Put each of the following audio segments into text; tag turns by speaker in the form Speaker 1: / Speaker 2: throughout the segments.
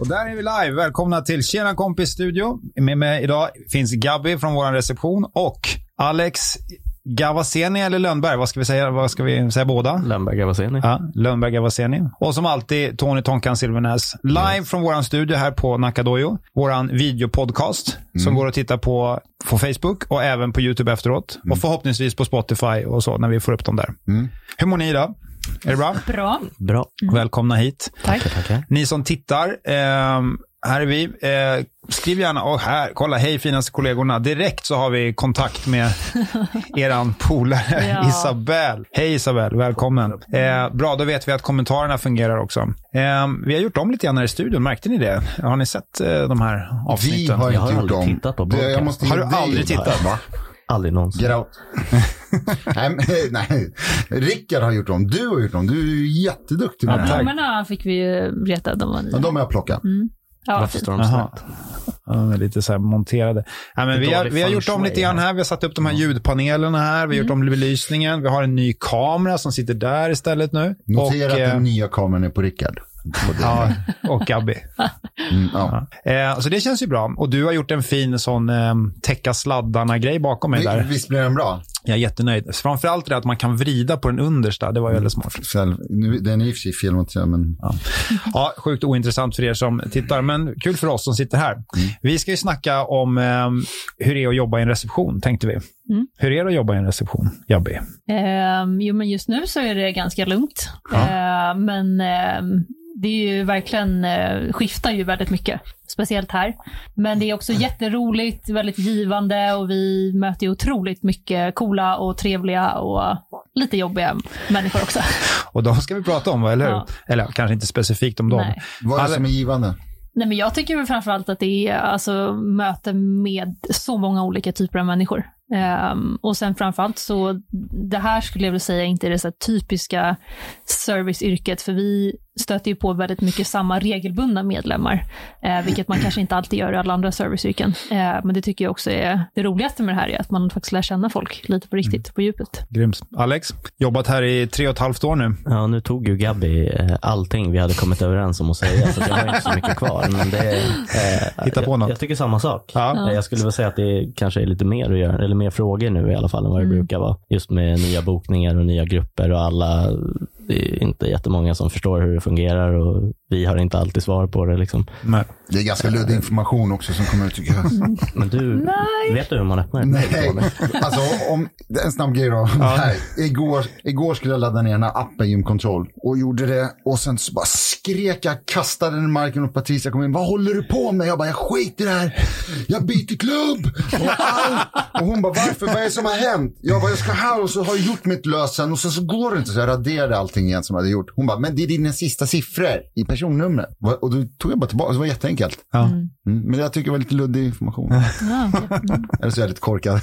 Speaker 1: Och där är vi live. Välkomna till Tjena kompis studio. Med mig idag finns Gabby från vår reception och Alex Gavaseni eller Lönnberg. Vad ska vi säga? Vad ska vi säga båda?
Speaker 2: Lönnberg Gavaseni.
Speaker 1: Ja, Lönnberg Gavaseni. Och som alltid Tony Tonkan Silvernäs. Live från vår studio här på Nakadojo. Vår videopodcast som går att titta på på Facebook och även på YouTube efteråt. Och förhoppningsvis på Spotify och så när vi får upp dem där. Hur mår ni idag? Är det bra?
Speaker 3: Bra.
Speaker 2: Bra.
Speaker 1: Välkomna hit.
Speaker 3: Tack.
Speaker 1: Ni som tittar, ehm, här är vi. Eh, skriv gärna, och här, kolla, hej finaste kollegorna. Direkt så har vi kontakt med eran polare
Speaker 3: Ja.
Speaker 1: Isabel. Hej Isabel, välkommen. Eh, bra, då vet vi att kommentarerna fungerar också. Ehm, vi har gjort om lite grann här i studion, märkte ni det? Har ni sett eh, de här
Speaker 4: Vi
Speaker 1: avsnitten?
Speaker 4: har
Speaker 2: Jag har
Speaker 4: inte gjort
Speaker 2: aldrig
Speaker 4: dem.
Speaker 2: tittat på
Speaker 4: Det-
Speaker 2: podcast.
Speaker 4: jag måste
Speaker 1: Har
Speaker 4: ge
Speaker 1: du
Speaker 4: dig
Speaker 1: aldrig
Speaker 4: det här,
Speaker 1: tittat?
Speaker 4: Va?
Speaker 2: Aldrig någonsin.
Speaker 4: Get out. nej, men- eh, nej, Rickard har gjort dem. Du har gjort dem. Du är ju jätteduktig med
Speaker 1: Ja,
Speaker 4: det här.
Speaker 1: tack. Mm.
Speaker 3: Blommorna fick vi ju veta att de var
Speaker 4: Men
Speaker 3: nya.
Speaker 4: de har jag plockat.
Speaker 3: Ja,
Speaker 2: Varför står de
Speaker 1: Jaha.
Speaker 2: snett?
Speaker 1: Ja, de är lite så här monterade. Nej, men
Speaker 2: Lite
Speaker 1: vi, har,
Speaker 2: dålig
Speaker 1: vi har
Speaker 2: feng
Speaker 1: gjort om
Speaker 2: shui
Speaker 1: lite grann
Speaker 2: här.
Speaker 1: här. Vi har satt upp de här ljudpanelerna här. Vi har gjort om belysningen. Vi har en ny kamera som sitter där istället nu.
Speaker 4: Notera att
Speaker 1: eh,
Speaker 4: den nya kameran är på Rickard. Och det-
Speaker 1: Ja, och Gabby.
Speaker 4: Mm, ja.
Speaker 1: Eh, så det känns ju bra. Och du har gjort en fin sån eh, täcka sladdarna-grej bakom mig
Speaker 4: Vi-
Speaker 1: där.
Speaker 4: Visst blir den bra?
Speaker 1: Jag är jättenöjd. Framförallt det att man kan vrida på den understa. Det var ju väldigt smart.
Speaker 4: Själv- nu- Den är i och för sig filmad, men
Speaker 1: Ja, sjukt ointressant för er som tittar, men kul för oss som sitter här. Vi ska ju snacka om eh, hur det är att jobba i en reception, tänkte vi.
Speaker 3: Mm.
Speaker 1: Hur är det att jobba i en reception, Gabby?
Speaker 3: Ehm, jo, men just nu så är det ganska lugnt. Ehm, men ehm, det är ju verkligen, eh, skiftar ju väldigt mycket. Speciellt här. Men det är också jätteroligt, väldigt givande och vi möter ju otroligt mycket coola och trevliga och lite jobbiga människor också.
Speaker 1: Och de ska vi prata om, va? eller hur?
Speaker 3: Ja.
Speaker 1: Eller kanske inte specifikt om dem.
Speaker 3: Nej.
Speaker 4: vad är det
Speaker 1: Alla-
Speaker 4: som är givande?
Speaker 3: Nej, men jag tycker väl framförallt att det är alltså, möten med så många olika typer av människor. Ehm, och sen framförallt så, det här skulle jag vilja säga inte är det så här typiska serviceyrket, för vi stöter ju på väldigt mycket samma regelbundna medlemmar, eh, vilket man kanske inte alltid gör i alla andra serviceyrken. Eh, men det tycker jag också är det roligaste med det här, är att man faktiskt lär känna folk lite på riktigt, på djupet.
Speaker 1: Grymt. Alex, jobbat här i tre och ett halvt år nu.
Speaker 2: Ja, nu tog ju Gabby eh, allting vi hade kommit överens om att säga, så det var inte så mycket kvar. Men det, är, eh,
Speaker 1: Hitta på
Speaker 2: jag,
Speaker 1: något.
Speaker 2: Jag tycker samma sak.
Speaker 1: Ja.
Speaker 2: Eh, Jag skulle väl säga att det kanske är lite mer att göra, eller mer frågor nu i alla fall än vad det brukar vara. Just med nya bokningar och nya grupper och alla, det är inte jättemånga som förstår hur det fungerar och vi har inte alltid svar på det. Liksom.
Speaker 1: Nej.
Speaker 4: Det är ganska luddig information också som kommer ut tycker jag.
Speaker 2: Men du, vet du hur man öppnar en
Speaker 4: Nej,
Speaker 2: mail?
Speaker 4: alltså om, en snabb grej då. Nej, igår, igår skulle jag ladda ner den här appen Gymkontroll och gjorde det och sen så bara skrek jag, kastade den i marken och Patricia kom in. Vad håller du på med? Jag bara, jag skiter i det här. Jag byter klubb. Och, allt. och hon bara, varför? Vad är det som har hänt? Jag bara, jag ska här och så har jag gjort mitt lösen och sen så går det inte så jag raderade allting igen som jag hade gjort. Hon bara, men det är dina sista siffror i personnumret. Och då tog jag bara tillbaka, det var jätteenkelt.
Speaker 1: Ja.
Speaker 4: Mm, men jag tycker det var lite luddig information.
Speaker 3: Ah, Mm.
Speaker 4: Eller så är jag lite korkad.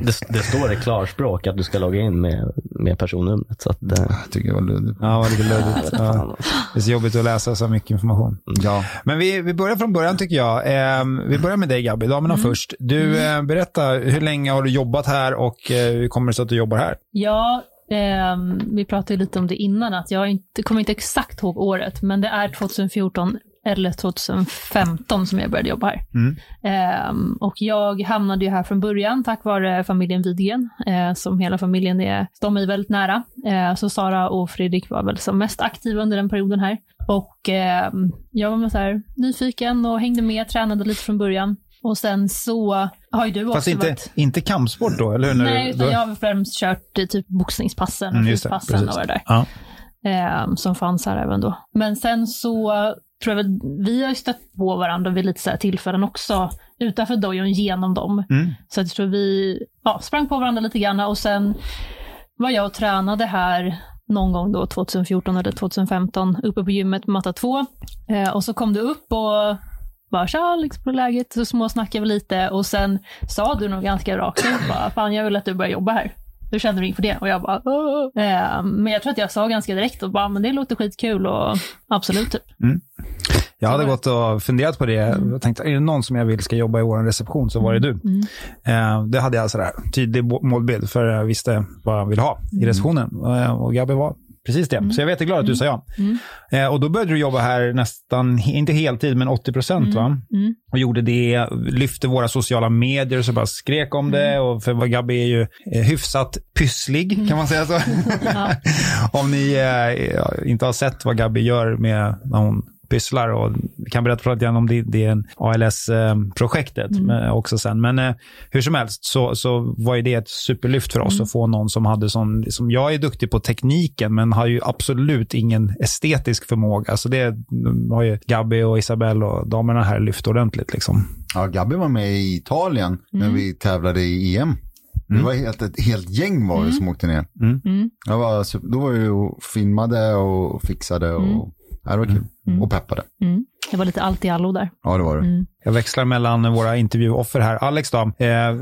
Speaker 2: Det, det står i klarspråk att du ska logga in med, med personnumret. Så att, eh,
Speaker 4: Jag tycker det var luddigt.
Speaker 1: Ja, vad det blir lödigt. Ja. Det är så jobbigt att läsa så mycket information.
Speaker 4: Ja.
Speaker 1: Men vi, vi börjar från början tycker jag. Ehm, vi börjar med dig Gabby, damerna först. Du, eh, berätta, hur länge har du jobbat här och eh, hur kommer det sig att du jobbar här?
Speaker 3: Ja, ehm, vi pratade ju lite om det innan, att jag inte, kommer inte exakt ihåg året, men det är 2014 eller 2015 som jag började jobba här.
Speaker 1: Mm.
Speaker 3: Ehm, och jag hamnade ju här från början tack vare familjen Widgren, eh, som hela familjen är, de är väldigt nära. Eh, så Sara och Fredrik var väl som mest aktiva under den perioden här. Och ehm, jag var med så här nyfiken och hängde med, tränade lite från början. Och sen så har ju du
Speaker 1: Fast
Speaker 3: också
Speaker 1: inte,
Speaker 3: varit...
Speaker 1: inte kampsport då, eller hur? När
Speaker 3: Nej,
Speaker 1: du,
Speaker 3: utan
Speaker 1: då,
Speaker 3: jag har väl främst kört eh, typ boxningspassen och
Speaker 1: Mm, just det,
Speaker 3: fyspassen och
Speaker 1: precis.
Speaker 3: det där.
Speaker 1: Ja.
Speaker 3: Eh, som fanns här även då. Men sen så tror jag väl, vi har ju stött på varandra vid lite så här tillfällen också, utanför dojon genom dem.
Speaker 1: Mm.
Speaker 3: Så jag tror vi ja, sprang på varandra lite grann och sen var jag och tränade här någon gång då 2014 eller 2015 uppe på gymmet Matta 2. Eh, och så kom du upp och bara tja Alex på läget, så småsnackade vi lite och sen sa du nog ganska rakt ut bara, fan jag vill att du börjar jobba här. Hur kände du inför det? Och jag bara, "Åh." eh, men jag tror att jag sa ganska direkt och bara, men det låter skitkul och absolut typ.
Speaker 1: Jag hade gått och funderat på det. Jag tänkte, är det någon som jag vill ska jobba i vår reception så var det du.
Speaker 3: Mm.
Speaker 1: Eh, det hade jag sådär tydlig bo- målbild, för jag visste vad jag ville ha i receptionen. Eh, och Gabby var Precis det. Så jag är jätteglad att du sa ja.
Speaker 3: Mm. Mm.
Speaker 1: Eh, och då började du jobba här nästan, inte heltid, men 80 procent va?
Speaker 3: Mm.
Speaker 1: Och gjorde det, lyfte våra sociala medier och så bara skrek om det.
Speaker 3: Mm.
Speaker 1: Och för Gabi är ju eh, hyfsat pysslig, kan man säga så.
Speaker 3: Ja.
Speaker 1: om ni eh, ja, inte har sett vad Gabi gör med när hon pysslar och kan berätta lite grann om det, det är ALS-projektet men eh, också sen. Men eh, hur som helst så, så var ju det ett superlyft för oss att få någon som hade sån, som jag är duktig på tekniken men har ju absolut ingen estetisk förmåga. Alltså det har ju Gabi och Isabelle och damerna här lyft ordentligt liksom.
Speaker 4: Ja, Gabby var med i Italien när vi tävlade i EM. Det var helt, ett helt gäng var det som åkte ner.
Speaker 1: Mm.
Speaker 3: Mm.
Speaker 4: Jag var, super- då var jag ju och filmade och fixade och ja, det var kul. Och peppade.
Speaker 3: Mm. Jag var lite allt i allo där.
Speaker 4: Ja, det var det.
Speaker 3: Mm.
Speaker 1: Jag växlar mellan våra intervjuoffer här. Alex då, eh,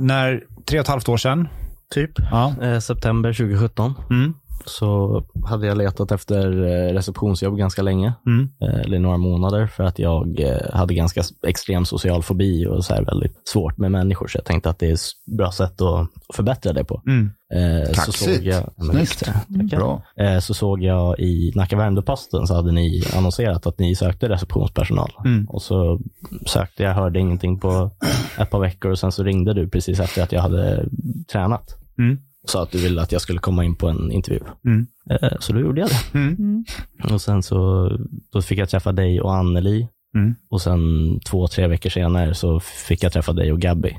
Speaker 1: när tre och ett halvt år sedan,
Speaker 2: Typ.
Speaker 1: ja,
Speaker 2: Eh, september 2017
Speaker 1: mm,
Speaker 2: så hade jag letat efter eh, receptionsjobb ganska länge.
Speaker 1: mm,
Speaker 2: eh, eller några månader för att jag eh, hade ganska s- extrem social fobi och så här väldigt svårt med människor. Så jag tänkte att det är ett bra sätt att förbättra det på.
Speaker 1: mm.
Speaker 2: Eh, Så
Speaker 4: Kaxigt.
Speaker 2: såg jag, Ja, men
Speaker 4: Snyggt.
Speaker 2: visst, ja. Tackar.
Speaker 4: Bra.
Speaker 2: Eh, Så såg jag i Nacka Värmdö-posten så hade ni annonserat att ni sökte receptionspersonal.
Speaker 1: Mm.
Speaker 2: Och så sökte jag, hörde ingenting på ett par veckor och sen så ringde du precis efter att jag hade tränat.
Speaker 1: Mm.
Speaker 2: Och sa att du ville att jag skulle komma in på en intervju.
Speaker 1: Mm.
Speaker 2: Eh, Så då gjorde jag det.
Speaker 3: Mm.
Speaker 2: Och sen så då fick jag träffa dig och Anneli.
Speaker 1: Mm.
Speaker 2: Och sen två, tre veckor senare så fick jag träffa dig och Gabby.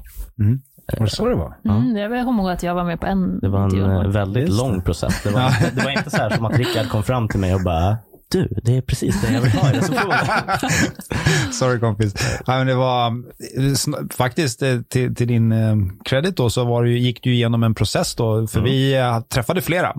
Speaker 1: Var det så det var?
Speaker 3: Mm. Jag kommer ihåg att jag var med på en
Speaker 2: Det var en
Speaker 3: intervju.
Speaker 2: eh, väldigt
Speaker 1: Just det.
Speaker 2: lång process. Det var, inte, det var inte så här som att Rickard kom fram till mig och bara du, det är precis det jag vill ha i receptionen.
Speaker 1: Sorry kompis. Ja, men det var eh, sn- faktiskt eh, till, till din eh, credit då så var det, ju- gick du igenom en process då, för vi eh, träffade flera,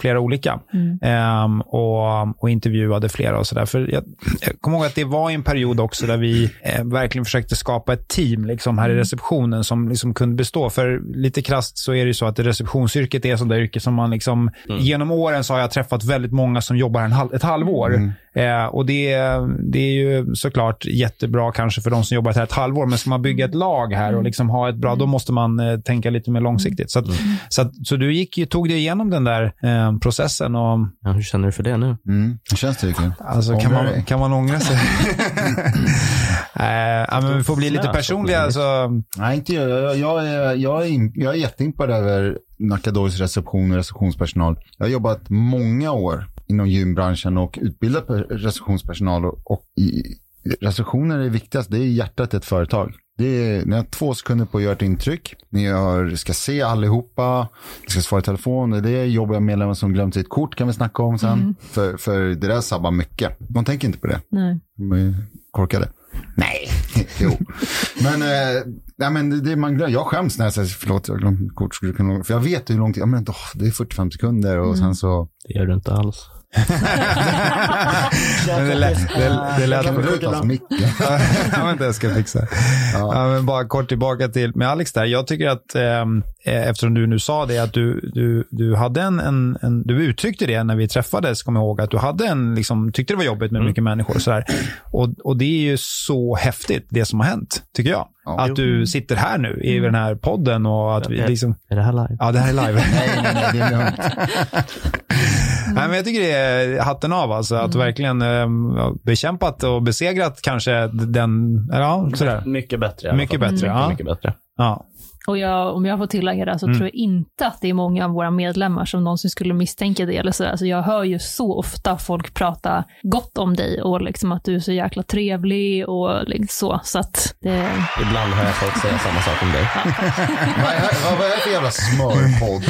Speaker 1: flera olika ehm, och, och intervjuade flera och sådär. För jag, jag kommer ihåg att det var i en period också där vi eh, verkligen försökte skapa ett team liksom, här i receptionen som liksom kunde bestå. För lite krasst så är det ju så att receptionsyrket är sånt där yrke som man liksom, genom åren så har jag träffat väldigt många som jobbar en halv, ett halvår. Eh, och det, det är ju såklart jättebra kanske för de som jobbat här ett halvår, men ska man bygga ett lag här och liksom ha ett bra, då måste man eh, tänka lite mer långsiktigt. Så, att, så, att, så du gick, ju- tog dig igenom den där eh, processen och
Speaker 2: Ja, hur känner du för det nu?
Speaker 4: Mm. Det känns det Rickard?
Speaker 1: Alltså, kan,
Speaker 4: Ångrar
Speaker 1: man,
Speaker 4: dig.
Speaker 1: kan man ångra sig? eh, ja, men vi får bli lite
Speaker 2: Snö, så
Speaker 1: personliga. Alltså,
Speaker 4: Nej, inte jag. Jag, jag, är, jag, är, in- jag är jätteimpad över Nackadois reception och receptionspersonal. Jag har jobbat många år inom gymbranschen och utbildat per- receptionspersonal. Och, och i, receptioner är viktigast. Det är hjärtat i ett företag. Det är, ni har två sekunder på att göra ett intryck. Ni har, ska se allihopa. Ni ska svara i telefon. Det är det jobbiga medlemmar som glömt sitt kort kan vi snacka om sen. För, för det där sabbar mycket. De tänker inte på det.
Speaker 3: Nej.
Speaker 4: De är korkade. Nej. jo. Men, eh, nej, men det, det man glömmer. Jag skäms när jag säger förlåt, jag glömde kort. Skulle kunna, för jag vet hur lång tid, ja, men, åh, det är 45 sekunder och
Speaker 1: Mm.
Speaker 4: sen så.
Speaker 2: Det gör du inte alls.
Speaker 1: men det lät, det, det lät
Speaker 4: Kan du ta så mycket?
Speaker 1: jag vet inte jag ska fixa. Ja. men bara kort tillbaka till med Alex där. Jag tycker att, ehm, eh, eftersom du nu sa det, att du, du, du, hade en, en, en, du uttryckte det när vi träffades, kommer jag ihåg, att du hade en, liksom, tyckte det var jobbigt med mycket människor. och Sådär. Och, och det är ju så häftigt, det som har hänt, tycker jag.
Speaker 4: Ja.
Speaker 1: Att du sitter här nu i den här podden och att vi
Speaker 2: Ja.
Speaker 1: liksom...
Speaker 2: Är det här live?
Speaker 1: Ja, det här är live.
Speaker 4: nej, nej, nej, det är lugnt.
Speaker 1: Nej, men jag tycker det är hatten av. Alltså, Att verkligen eh, bekämpat och besegrat kanske den... eller Ja, sådär.
Speaker 2: Mycket bättre. i alla
Speaker 1: Mycket
Speaker 2: fall.
Speaker 1: bättre,
Speaker 2: Mycket,
Speaker 1: ja.
Speaker 2: mycket bättre.
Speaker 1: Ja.
Speaker 3: Och jag, om jag får tillägga det, så
Speaker 2: Mm.
Speaker 3: tror jag inte att det är många av våra medlemmar som någonsin skulle misstänka det. Eller så där. Alltså jag hör ju så ofta folk prata gott om dig och liksom att du är så jäkla trevlig och liksom så. Så att det,
Speaker 2: Ibland hör jag folk säga samma sak om dig.
Speaker 4: Vad är vad- vad är det för jävla smörpodd?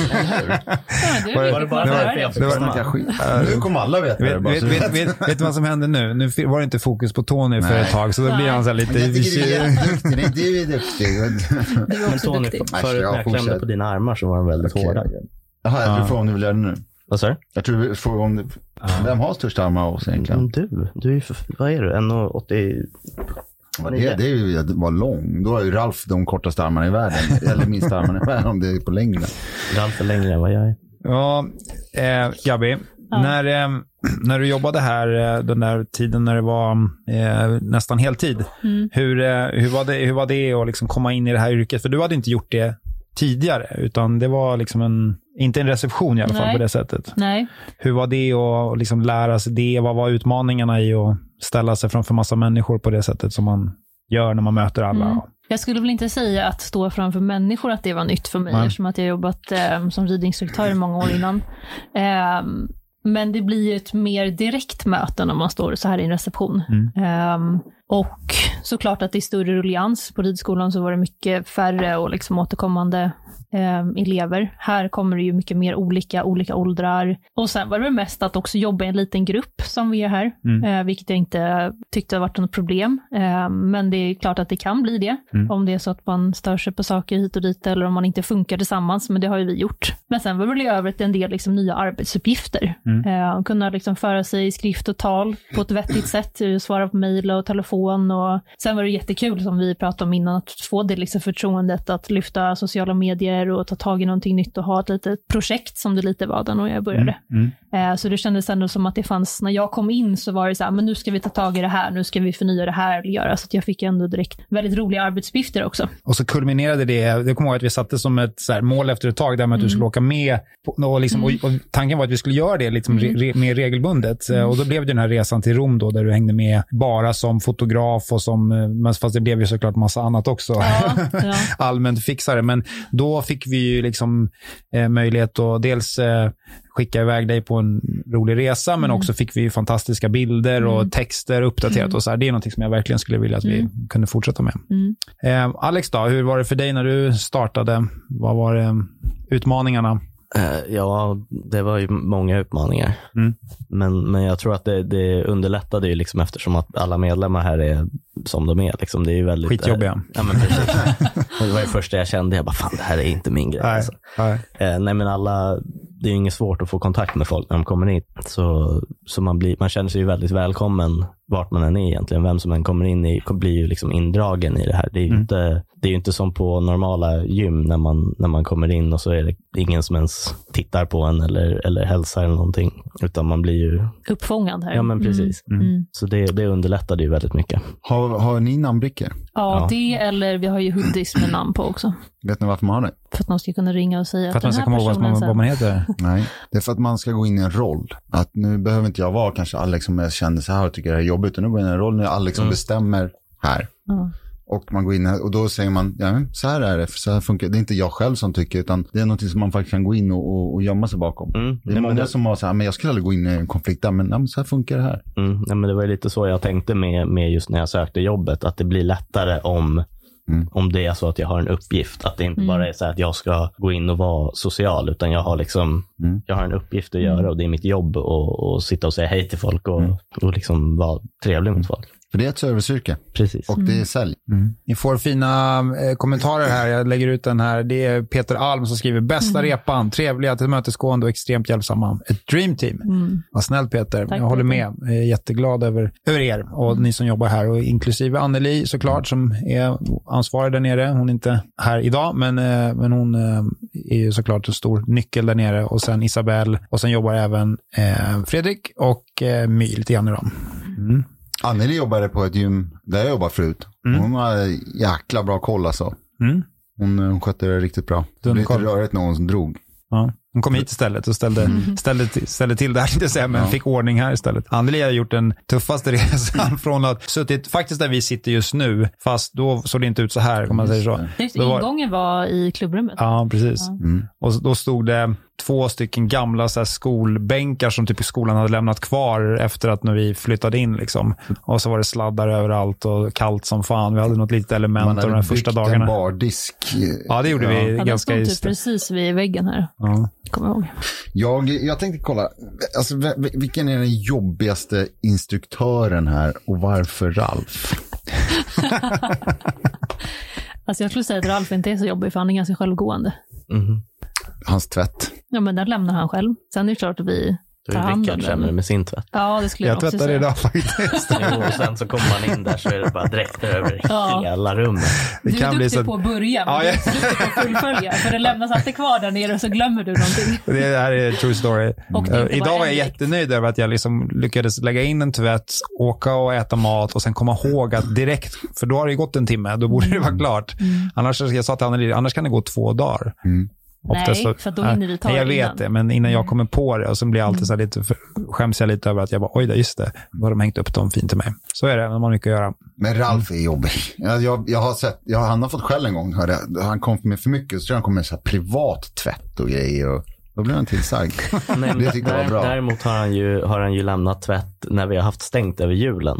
Speaker 3: du
Speaker 1: Var det-
Speaker 2: Var det bara för att jag fick
Speaker 1: Det var-
Speaker 2: komma?
Speaker 4: nu kommer alla veta det.
Speaker 1: Vet,
Speaker 4: bara,
Speaker 1: vet,
Speaker 4: så-
Speaker 1: vet, vet, vet du vad som hände nu? Nu fi- var det inte fokus på Tony för
Speaker 4: Nej.
Speaker 1: ett tag, så då blir han så här lite...
Speaker 4: Jag tycker du är jätteduktig. Nej, Du är duktig.
Speaker 3: Du är
Speaker 2: Men
Speaker 3: också
Speaker 2: Tony,
Speaker 3: duktig.
Speaker 2: förut när jag klämde på dina armar så var de väldigt hårda.
Speaker 4: Jaha, jag tror frågan om du vill göra det nu.
Speaker 2: Vad sa du?
Speaker 4: Jag tror vi får om du, Vem har störst armar av oss egentligen?
Speaker 2: Men du, du är ju för, vad är du? 1,80?
Speaker 4: Ja, Det, det är ju att vara lång. Då har ju Ralf de kortaste armarna i världen. Eller minsta armarna i världen om det är på längden.
Speaker 2: Ralf är längre än vad jag är.
Speaker 1: Ja, eh, Gabi. När, eh, när du jobbade här eh, den där tiden när det var eh, nästan heltid,
Speaker 4: Mm.
Speaker 1: hur, eh, hur, var det, hur var det att liksom komma in i det här yrket? För du hade inte gjort det tidigare, utan det var liksom en... Inte en reception i alla fall
Speaker 3: Nej.
Speaker 1: på det sättet.
Speaker 3: Nej.
Speaker 1: Hur var det att liksom lära sig det? Vad var utmaningarna i att ställa sig framför massa människor på det sättet som man gör när man möter alla?
Speaker 3: Mm. Jag skulle väl inte säga att stå framför människor att det var nytt för mig,
Speaker 1: Nej.
Speaker 3: eftersom att jag jobbat eh, som ridinstruktör i många år innan. Ehm, men det blir ju ett mer direkt möte när man står så här i en reception.
Speaker 1: Mm.
Speaker 3: Ehm, och såklart att det är större ruljans. På ridskolan så var det mycket färre och liksom återkommande ehm, elever. Här kommer det ju mycket mer olika, olika åldrar. Och sen var det väl mest att också jobba i en liten grupp som vi är här,
Speaker 1: Mm.
Speaker 3: eh, vilket jag inte tyckte har varit något problem. Ehm, men det är klart att det kan bli det,
Speaker 1: Mm.
Speaker 3: om det är så att man stör sig på saker hit och dit eller om man inte funkar tillsammans, men det har ju vi gjort. Men sen var det väl i övrigt en del liksom, nya arbetsuppgifter.
Speaker 1: Mm.
Speaker 3: Eh, kunna liksom föra sig i skrift och tal på ett vettigt sätt, eh, svara på mejl och telefon. Och... Sen var det jättekul, som vi pratade om innan, att få det liksom förtroendet att lyfta sociala medier och ta tag i någonting nytt och ha ett litet projekt som det lite var där när jag började.
Speaker 1: Mm.
Speaker 3: Eh, Så det kändes ändå som att det fanns, när jag kom in så var det så här, men nu ska vi ta tag i det här, nu ska vi förnya det här, eller göra. Så att jag fick ändå direkt väldigt roliga arbetsuppgifter också.
Speaker 1: Och så kulminerade det, det kommer jag ihåg att vi satte som ett så här, mål efter ett tag, där med att du
Speaker 3: Mm.
Speaker 1: skulle åka med. på- Och, liksom, och, och tanken var att vi skulle göra det liksom,
Speaker 3: Mm.
Speaker 1: re, re, mer regelbundet. Eh, Och då blev det den här resan till Rom då, där du hängde med bara som fotograf och som, eh, men fast det blev ju såklart massa annat också.
Speaker 3: Ja, ja.
Speaker 1: allmänt fixare. Men då fick vi ju liksom eh, möjlighet att dels eh, skicka iväg dig på en rolig resa, men
Speaker 3: Mm.
Speaker 1: också fick vi ju fantastiska bilder och texter uppdaterat och så här. Det är någonting som jag verkligen skulle vilja att vi kunde fortsätta med.
Speaker 3: Mm.
Speaker 1: Eh, Alex då, hur var det för dig när du startade? Vad var eh, utmaningarna?
Speaker 2: Eh, Ja, det var ju många utmaningar.
Speaker 1: Mm.
Speaker 2: Men, men jag tror att det, det underlättade ju liksom eftersom att alla medlemmar här är som de är. Liksom. Det är ju väldigt, eh,
Speaker 1: Skitjobbiga.
Speaker 2: Ja, men precis. Och det var det första jag kände. Jag bara, fan det här är inte min grej. Alltså.
Speaker 1: Nej.
Speaker 2: Eh, nej men alla, det är ju inget svårt att få kontakt med folk när de kommer in. Så, så man, blir, man känner sig ju väldigt välkommen vart man än är egentligen. Vem som än kommer in i, blir ju liksom indragen i det här. Det är ju,
Speaker 1: Mm.
Speaker 2: inte, det är ju inte som på normala gym när man, när man kommer in och så är det ingen som ens tittar på en eller, eller hälsar eller någonting. Utan man blir ju,
Speaker 3: Uppfångad här.
Speaker 2: ja men precis.
Speaker 3: Mm. Mm.
Speaker 2: Så det, det underlättade ju väldigt mycket.
Speaker 4: Har, har ni namnbrickor?
Speaker 3: Ja,
Speaker 2: Ja.
Speaker 3: det eller vi har ju hoodies med namn på också.
Speaker 4: Vet ni varför man har det?
Speaker 3: För att någon ska kunna ringa och säga
Speaker 1: För att man
Speaker 3: den
Speaker 1: ska
Speaker 3: här
Speaker 1: komma ihåg vad
Speaker 3: personen
Speaker 1: man,
Speaker 3: sen-
Speaker 1: vad man heter.
Speaker 4: Nej, det är för att man ska gå in i en roll. Att nu behöver inte jag vara kanske Alex som jag känner så här och tycker det här är jobbigt. Och nu går jag in i en roll, nu är Alex som bestämmer här.
Speaker 3: Ja.
Speaker 4: Och man går in här och då säger man, ja, men så här är det, för så här funkar det. Det är inte jag själv som tycker, utan det är någonting som man faktiskt kan gå in och, och, och gömma sig bakom.
Speaker 2: Mm.
Speaker 4: Det är
Speaker 2: men
Speaker 4: många som har så här, men jag skulle aldrig gå in i en konflikt där, men, ja, men så här funkar det här.
Speaker 2: Mm, nej, men det var ju lite så jag tänkte med, med just när jag sökte jobbet, att det blir lättare om,
Speaker 4: Mm.
Speaker 2: om det är så att jag har en uppgift. Att det inte
Speaker 3: Mm.
Speaker 2: bara är så här att jag ska gå in och vara social, utan jag har, liksom,
Speaker 4: Mm.
Speaker 2: jag har en uppgift att göra och det är mitt jobb att att sitta och säga hej till folk och,
Speaker 4: Mm.
Speaker 2: och liksom vara trevlig mot folk.
Speaker 4: För det är ett serviceyrke
Speaker 2: Precis.
Speaker 4: och det är sälj.
Speaker 1: Ni får fina eh, kommentarer här. Jag lägger ut den här. Det är Peter Alm som skriver bästa
Speaker 3: Mm.
Speaker 1: repan, trevliga, tillmötesgående och extremt hjälpsamma. Ett dreamteam. Vad snällt Peter.
Speaker 3: Mm. Tack,
Speaker 1: jag håller
Speaker 3: Peter. Mm.
Speaker 1: med. Jag är jätteglad över, över er och ni som jobbar här och inklusive Anneli såklart som är ansvarig där nere. Hon är inte här idag men, eh, men hon eh, är ju såklart en stor nyckel där nere och sen Isabelle och sen jobbar även eh, Fredrik och eh, My lite grann idag. Mm.
Speaker 4: Anneli jobbade på ett gym där jag jobbade förut.
Speaker 1: Mm.
Speaker 4: Hon har jäkla bra koll alltså.
Speaker 1: Mm.
Speaker 4: Hon, eh, hon skötte det riktigt bra. Det blev lite
Speaker 1: Dunkoll.
Speaker 4: rörigt när hon drog.
Speaker 1: Ja. Hon kom hit istället och ställde,
Speaker 3: Mm.
Speaker 1: ställde, till- ställde till det här, tänkte jag säga, men
Speaker 4: Ja.
Speaker 1: fick ordning här istället. Anneli har gjort den tuffaste resan från att suttit faktiskt där vi sitter just nu, fast då såg det inte ut så här, om man säger så.
Speaker 3: Just
Speaker 1: Då var-
Speaker 3: ingången var i klubbrummet.
Speaker 1: Ja, precis.
Speaker 4: Mm.
Speaker 1: Och så- då stod det två stycken gamla så här, skolbänkar som typ skolan hade lämnat kvar efter att när vi flyttade in. Liksom. Och så var det sladdar överallt och kallt som fan. Vi hade något litet element av de här första
Speaker 4: byggt en
Speaker 1: dagarna.
Speaker 4: bardisk. eh,
Speaker 1: Ja, det gjorde vi
Speaker 3: Ja, den
Speaker 1: ganska
Speaker 3: stod
Speaker 1: i...
Speaker 3: typ precis vid väggen här,
Speaker 1: Ja.
Speaker 3: kommer jag ihåg.
Speaker 4: Jag, jag tänkte kolla, alltså, v- v- vilken är den jobbigaste instruktören här och varför Ralf?
Speaker 3: Alltså jag skulle säga att Ralf inte är så jobbig, för han är ganska självgående.
Speaker 2: Mhm.
Speaker 4: Hans tvätt.
Speaker 3: Ja, men den lämnar han själv. Sen är det klart att vi
Speaker 2: Då
Speaker 3: tar
Speaker 2: är
Speaker 3: hand om
Speaker 2: Rickard sämre
Speaker 3: den.
Speaker 2: med sin tvätt.
Speaker 3: Ja, det skulle jag,
Speaker 1: Jag
Speaker 3: också
Speaker 1: tvättade
Speaker 3: säga.
Speaker 1: idag faktiskt.
Speaker 2: Jo, och sen så kommer man in där så är det bara dräkter över
Speaker 3: Ja.
Speaker 2: hela rummet.
Speaker 1: Det
Speaker 3: du är
Speaker 1: kan bli
Speaker 3: duktig
Speaker 1: så...
Speaker 3: på att börja, men
Speaker 1: Ja,
Speaker 3: du
Speaker 1: ja.
Speaker 3: är inte duktig på att fullfölja. För det lämnas alltid kvar där nere och så glömmer du någonting.
Speaker 1: Det här är true story.
Speaker 3: Och det
Speaker 1: Eh,
Speaker 3: inte bara
Speaker 1: Idag var jag
Speaker 3: en dräkt.
Speaker 1: jättenöjd över att jag liksom lyckades lägga in en tvätt, åka och äta mat och sen komma ihåg att direkt, för
Speaker 3: Mm.
Speaker 1: då har det ju gått en timme, då borde det vara klart. Annars, jag sa till Anneli, annars kan det gå två dagar.
Speaker 4: Mm.
Speaker 1: Oftast så-
Speaker 3: för att då hinner vi ta
Speaker 1: Nej, Jag
Speaker 3: det
Speaker 1: vet
Speaker 3: innan. Mm.
Speaker 1: det, men innan jag kommer på det och så blir jag alltid så här lite, för- skäms jag lite över att jag bara, oj, där, just det, då har de hängt upp dem fint till mig. Så är det, man har mycket att göra.
Speaker 4: Men Ralf är jobbig. Jag, jag, jag har sett, jag, han har fått skäll en gång. Hörde. jag. Han kom för mig för mycket. Så tror jag han kom med så här privat tvätt och grejer. Och, då blev han tillsagd.
Speaker 2: Men
Speaker 4: det tyckte jag var
Speaker 2: där-
Speaker 4: bra.
Speaker 2: Däremot har han, ju, har han ju lämnat tvätt när vi har haft stängt över julen.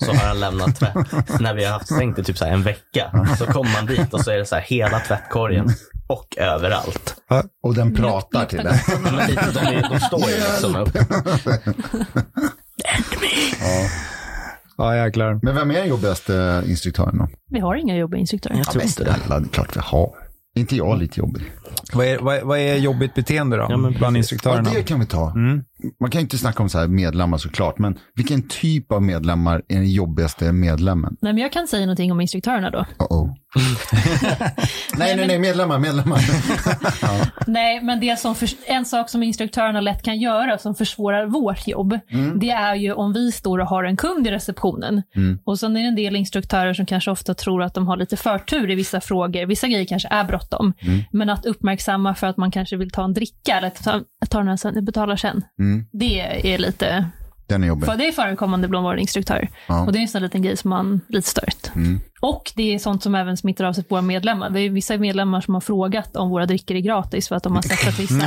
Speaker 2: Så har han lämnat tvätt när vi har haft stängt i typ så här en vecka. Så kommer man dit och så är det så här hela tvättkorgen och överallt.
Speaker 4: Och den pratar till den.
Speaker 2: Men lite, de, är- de står ju liksom upp.
Speaker 4: Ja.
Speaker 1: Ja, jäklar.
Speaker 4: Men vem är den jobbigaste instruktören då?
Speaker 3: Vi har inga jobbiga instruktörer.
Speaker 2: Jag tror inte det.
Speaker 4: Snälla, det är klart vi har. Inte jag lite jobbig.
Speaker 1: Vad är, vad, är- vad är jobbigt beteende då,
Speaker 2: Ja, men
Speaker 1: bland
Speaker 2: precis.
Speaker 4: Ja,
Speaker 1: instruktörerna?
Speaker 4: det kan vi ta.
Speaker 1: Mm.
Speaker 4: Man kan ju inte snacka om så här medlemmar såklart, men vilken typ av medlemmar är den jobbigaste medlemmen?
Speaker 3: Nej, men jag kan säga någonting om instruktörerna då.
Speaker 4: Uh-oh. nej, nej, nej, medlemmar, medlemmar.
Speaker 3: Nej, men det som förs- en sak som instruktörerna lätt kan göra som försvårar vårt jobb,
Speaker 1: Mm.
Speaker 3: det är ju om vi står och har en kund i receptionen. Och sen är det en del instruktörer som kanske ofta tror att de har lite förtur i vissa frågor. Vissa grejer kanske är bråttom,
Speaker 1: Mm.
Speaker 3: men att uppmärksamma för att man kanske vill ta en dricka eller att ta, att ta den här sen, jag betalar sen.
Speaker 4: Mm.
Speaker 3: Det är lite,
Speaker 4: Den är jobbig.
Speaker 3: för det är förekommande bland våra instruktörer.
Speaker 4: Ja.
Speaker 3: Och det är en sån liten grej som man lite stört.
Speaker 4: Mm.
Speaker 3: Och det är sånt som även smittar av sig på våra medlemmar. Det är vissa medlemmar som har frågat om våra drycker är gratis för att de har sett att vissa,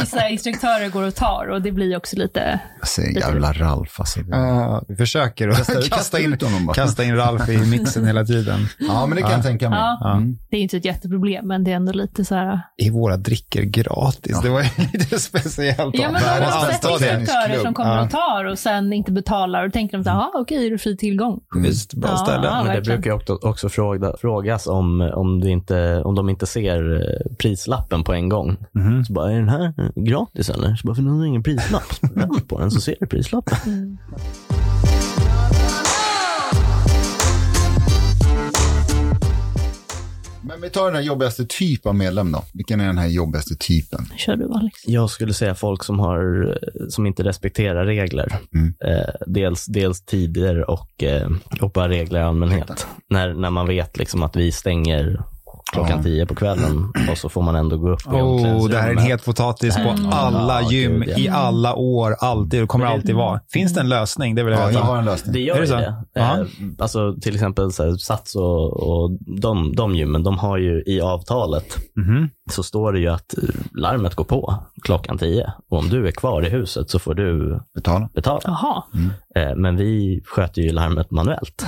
Speaker 3: vissa instruktörer går och tar och det blir också lite...
Speaker 4: Jag säger jävla Ralf alltså.
Speaker 1: Ja, Eh, vi försöker att kasta,
Speaker 4: Kasta
Speaker 1: in,
Speaker 4: ut honom bara.
Speaker 1: kasta in Ralf i mixen hela tiden.
Speaker 4: Ja, men det kan jag tänka mig.
Speaker 3: Ja.
Speaker 4: Mm.
Speaker 3: Det är inte ett jätteproblem, men det är ändå lite så här...
Speaker 1: Är våra drycker gratis? Det var ju lite speciellt.
Speaker 3: Ja, men
Speaker 1: då
Speaker 3: har
Speaker 4: världens
Speaker 3: du
Speaker 1: måste
Speaker 3: sett
Speaker 4: bästa
Speaker 1: ta det.
Speaker 3: instruktörer
Speaker 4: tennisklubb.
Speaker 3: som kommer
Speaker 1: Ja.
Speaker 3: och tar och sen inte betalar och tänker de så här, "Jaha, okej, är det fri tillgång?
Speaker 1: Schysst, bra
Speaker 3: Ja,
Speaker 1: ställe.
Speaker 2: Men det
Speaker 3: verkligen.
Speaker 2: brukar ju också, också fråga, frågas om, om, det inte, om de inte ser eh, prislappen på en gång.
Speaker 4: Mhm.
Speaker 2: Så bara, är den här gratis eller? Så bara, för den har ingen prislapp. Så bara, Vänd på den så ser du prislappen.
Speaker 4: Men vi tar den här jobbigaste typ av medlem då. Vilken är den här jobbigaste typen?
Speaker 3: Kör du Alex.
Speaker 2: Jag skulle säga folk som, har, som inte respekterar regler.
Speaker 4: Mm.
Speaker 2: Eh, dels, dels tider och, eh, och bara regler i allmänhet. När, när man vet liksom att vi stänger klockan
Speaker 4: Ja.
Speaker 2: tio på kvällen och så får man ändå gå upp i
Speaker 1: Oh, det här är en
Speaker 2: omklädningsrummet.
Speaker 1: het potatis på
Speaker 3: Mm.
Speaker 1: alla
Speaker 2: Ja,
Speaker 1: gym
Speaker 2: gud, ja.
Speaker 1: i alla år, alltid. Det kommer alltid vara. Finns det en lösning? Det vill jag
Speaker 4: Ja, jag
Speaker 1: veta.
Speaker 4: har en lösning.
Speaker 2: Det gör
Speaker 1: Är det
Speaker 2: ju
Speaker 1: så?
Speaker 2: det.
Speaker 1: Ja.
Speaker 2: Eh, alltså, till exempel så här, Sats och, och de, de gymmen, de har ju i avtalet
Speaker 1: Mhm.
Speaker 2: så står det ju att eh, larmet går på klockan 10 och om du är kvar i huset så får du
Speaker 4: Betala.
Speaker 2: betala.
Speaker 3: Jaha,
Speaker 4: Mm.
Speaker 2: Eh, men vi sköter ju larmet manuellt.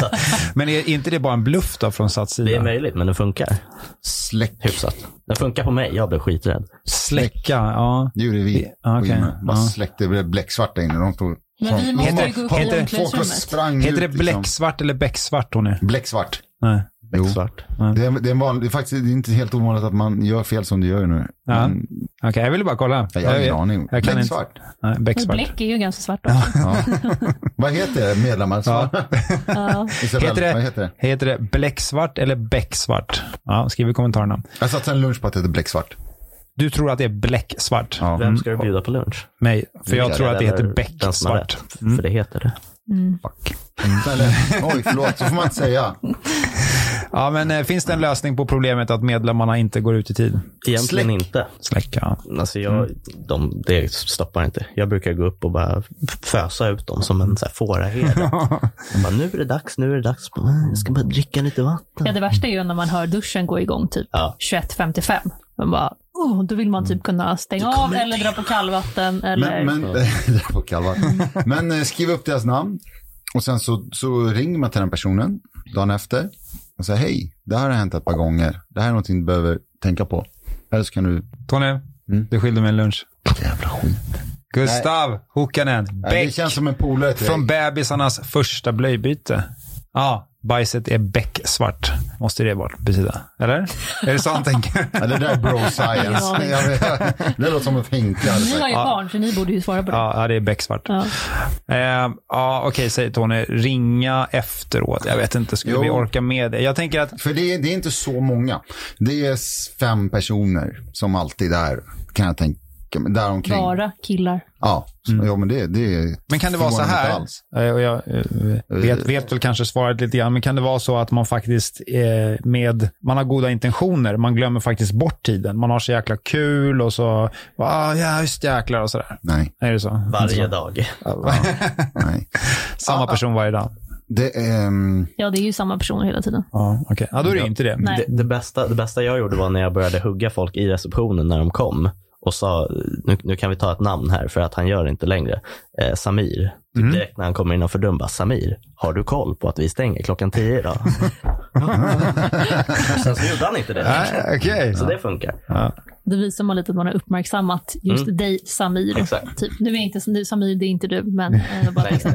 Speaker 2: så att
Speaker 1: Men är inte det bara en bluff då från Sats
Speaker 2: det är
Speaker 1: sida?
Speaker 2: möjligt, men det funkar
Speaker 4: Släck.
Speaker 2: hyfsat. Det funkar på mig, jag blev skiträdd.
Speaker 1: Släcka, ja.
Speaker 4: Det gjorde vi.
Speaker 1: Ja, ah, okej.
Speaker 4: Och Jimmy Bara
Speaker 1: Ja.
Speaker 4: släckte, det blev bläcksvart där inne. De tog,
Speaker 3: Men vi måste
Speaker 1: Heter-
Speaker 3: ju gå upp
Speaker 1: heter-
Speaker 3: i
Speaker 4: folk och
Speaker 3: omklädningsrummet.
Speaker 4: sprang
Speaker 1: Heter det
Speaker 4: ut, liksom.
Speaker 1: bläcksvart eller becksvart, Tony?
Speaker 4: Bläcksvart.
Speaker 1: Nej.
Speaker 4: Jo.
Speaker 2: Svart.
Speaker 4: Det är, det, är en vanlig, det är faktiskt det är inte helt ovanligt att man gör fel som du gör nu.
Speaker 1: Ja.
Speaker 4: Men
Speaker 1: Okej, jag ville bara kolla.
Speaker 4: Mm. jag har ingen aning.
Speaker 1: jag kan inte.
Speaker 4: Bläcksvart.
Speaker 1: Nej, becksvart.
Speaker 3: Bläck är ju ganska svart också.
Speaker 4: Ja. Vad heter det, medlemmar? Ja.
Speaker 3: Ja.
Speaker 4: Isabel,
Speaker 1: Heter det-
Speaker 4: Vad heter det?
Speaker 1: Heter det bläcksvart eller becksvart? Ja, skriv i kommentarerna.
Speaker 4: Jag satt en lunch på att det heter bläcksvart.
Speaker 1: Du tror att det är bläcksvart?
Speaker 4: Ja.
Speaker 2: Vem ska du bjuda på lunch?
Speaker 1: Mig. För Mm. jag
Speaker 2: Eller-
Speaker 1: tror att det heter Mm.
Speaker 2: eller den som har
Speaker 1: becksvart.
Speaker 2: rätt, För det heter det.
Speaker 4: Fuck. Eller, oj, förlåt. Så får man inte säga.
Speaker 1: Ja, men eh, finns det en lösning på problemet att medlemmarna inte går ut i tid?
Speaker 2: Egentligen
Speaker 4: Släck.
Speaker 2: inte.
Speaker 1: Släcka.
Speaker 2: Alltså jag,
Speaker 1: Mm.
Speaker 2: de, det stoppar inte. Jag brukar gå upp och bara fösa ut dem som en så här fåraherde. Jag bara, nu är det dags, nu är det dags. Jag ska bara dricka lite vatten.
Speaker 3: Ja, det värsta är ju när man hör duschen gå igång typ
Speaker 2: Ja.
Speaker 3: 21.55. Man bara, oh, då vill man typ kunna stänga av eller dra på kallvatten eller
Speaker 4: Men, men, det var kallvatten. men eh, skriv upp deras namn och sen så, så ringer man till den personen dagen efter och säger hej, det här har hänt ett par gånger. Det här är någonting du behöver tänka på. Eller så kan du...
Speaker 1: Tony, du skilde mig en lunch.
Speaker 4: Mm. Jävla skit.
Speaker 1: Gustav Hukkanen,
Speaker 4: Nej, det
Speaker 1: bäck.
Speaker 4: känns som en polare till
Speaker 1: Från
Speaker 4: dig.
Speaker 1: bebisarnas första blöjbyte. Ja, bajset är becksvart. Måste det bort besida? Eller? Är det så han tänker?
Speaker 4: Ja, det där är bro
Speaker 3: Ja,
Speaker 4: science.
Speaker 3: det-
Speaker 4: Jag vet, det låter som ett hinkar.
Speaker 3: Ni har ju barn, så ni borde ju svara på det.
Speaker 1: Ja, ja, det är becksvart. Ja,
Speaker 3: Ja.
Speaker 1: eh, ja, okej, säger Tony. Ringa efteråt. Jag vet inte, skulle
Speaker 4: Jo.
Speaker 1: vi orka med det? Jag tänker att
Speaker 4: För det är, det är inte så många. Det är s- fem personer som alltid är, kan jag tänka kan man- däromkring.
Speaker 3: Bara killar.
Speaker 4: Ja, ja men det, det
Speaker 1: Mm. Men kan det vara så
Speaker 4: förvånar mig inte
Speaker 1: här?
Speaker 4: alls.
Speaker 1: Eh, Och jag eh, vet, vet väl kanske svaret lite grann, men kan det vara så att man faktiskt eh, med, man har goda intentioner, man glömmer faktiskt bort tiden. Man har så jäkla kul och så, ah, ja just jäklar och sådär.
Speaker 4: Nej,
Speaker 1: Är det så?
Speaker 2: Varje dag.
Speaker 4: nej.
Speaker 1: Samma person varje dag.
Speaker 4: Det är... ehm,
Speaker 3: Ja, det är ju samma personer hela tiden.
Speaker 1: Ja, okej. Ja, då är det ju inte det.
Speaker 3: Nej.
Speaker 2: Det, det, bästa, det bästa jag gjorde var när jag började hugga folk i receptionen när de kom och sa, nu, nu kan vi ta ett namn här för att han gör det inte längre. Eh, Samir. Typ
Speaker 4: Mm.
Speaker 2: Direkt när han kommer innanför dörren bara, Samir, har du koll på att vi stänger klockan tio idag? Sen så gjorde han inte det.
Speaker 1: Nej, okej.
Speaker 2: Så det funkar.
Speaker 3: Det visar man lite att man har uppmärksammat just dig, Samir.
Speaker 2: Exakt.
Speaker 3: Typ. Nu är inte nu, Samir, det är inte du, men eh, jag bara
Speaker 2: Nej.
Speaker 3: liksom,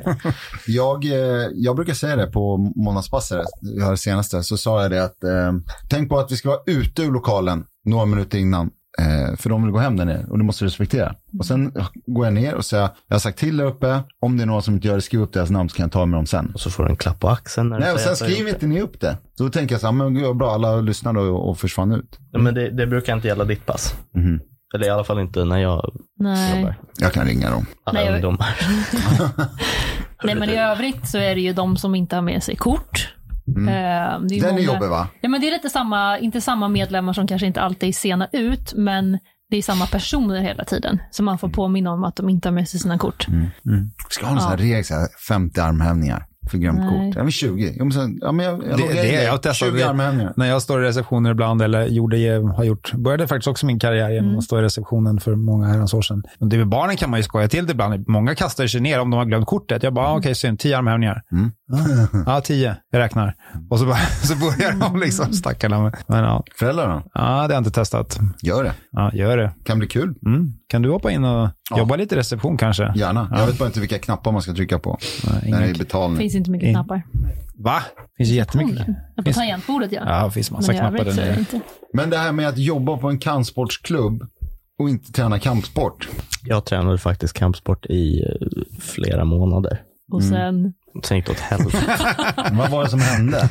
Speaker 4: Jag, eh, jag brukar säga det på månadspasset, jag har det senaste, så sa jag det att eh, tänk på att vi ska vara ute ur lokalen några minuter innan. Eh, för de vill gå hem där nere och det måste du respektera. Och sen går jag ner och säger, jag har sagt till där uppe, om det är någon som inte gör det, skriv upp deras namn så kan jag ta med dem sen.
Speaker 2: Och så får du en klapp på axeln. När du
Speaker 4: Nej, och
Speaker 2: säger
Speaker 4: sen
Speaker 2: att du har gjort
Speaker 4: skriver
Speaker 2: det.
Speaker 4: inte ni upp det. Då tänker jag så här, men gud vad bra, alla lyssnade och, och försvann ut.
Speaker 2: Ja, Men det, det brukar inte gälla ditt pass.
Speaker 4: Mhm.
Speaker 2: Eller i alla fall inte när jag
Speaker 3: nej.
Speaker 2: jobbar.
Speaker 4: Jag kan ringa dem.
Speaker 2: Alla
Speaker 3: Nej, jag-
Speaker 2: ungdomar.
Speaker 3: nej, men i övrigt så är det ju de som inte har med sig kort. Eh, det
Speaker 4: Den är
Speaker 3: många-
Speaker 4: jobbig va?
Speaker 3: Ja, men det är lite samma, inte samma medlemmar som kanske inte alltid är sena ut, men det är samma personer hela tiden. Så man
Speaker 1: Mm.
Speaker 3: får påminna om att de inte har med sig sina kort.
Speaker 4: Ska ha en sån här regel, så här 50 armhävningar för glömt
Speaker 3: Nej.
Speaker 4: kort. Ja, men 20. Ja, men sen, ja, men jag, jag
Speaker 1: Det,
Speaker 4: loggar in
Speaker 1: det, jag
Speaker 4: dig.
Speaker 1: testade
Speaker 4: 20 armhävningar.
Speaker 1: När jag står i receptioner ibland, eller gjorde, har gjort, började faktiskt också min karriär genom
Speaker 3: Mm.
Speaker 1: att stå i receptionen för många herrans år sedan. Men det med barnen kan man ju skoja till det ibland. Många kastar sig ner om de har glömt kortet. Jag bara, ah, okej, synd, tio armhävningar.
Speaker 4: Mm.
Speaker 1: Ja, ah, tio, jag räknar. Och så, bara, så börjar de
Speaker 3: Mm.
Speaker 1: liksom, stackarna. Men, men ja,
Speaker 4: Föräldrar då?
Speaker 1: ah, det har jag inte testat.
Speaker 4: Gör det.
Speaker 1: Ja, gör det.
Speaker 4: Kan bli kul.
Speaker 1: Mm. Kan du hoppa in och jobba lite i reception kanske?
Speaker 4: Gärna. Jag vet bara inte vilka knappar man ska trycka på
Speaker 1: Nej,
Speaker 4: när det
Speaker 1: inga...
Speaker 4: är betalning.
Speaker 3: finns inte mycket
Speaker 1: In-
Speaker 3: knappar.
Speaker 1: Va? finns ju jättemycket.
Speaker 3: Ja, På
Speaker 1: Finns-
Speaker 3: tangentbordet ja.
Speaker 1: Ja, det finns massa
Speaker 3: men i
Speaker 1: knappar
Speaker 3: övrigt
Speaker 1: där
Speaker 3: så är det
Speaker 1: nere.
Speaker 3: inte.
Speaker 4: Men det här med att jobba på en kampsportsklubb och inte träna kampsport.
Speaker 2: Jag tränade faktiskt kampsport i eh, flera månader.
Speaker 1: Mm.
Speaker 3: Och sen,
Speaker 2: Sen gick det åt helvete.
Speaker 4: Vad var det som hände?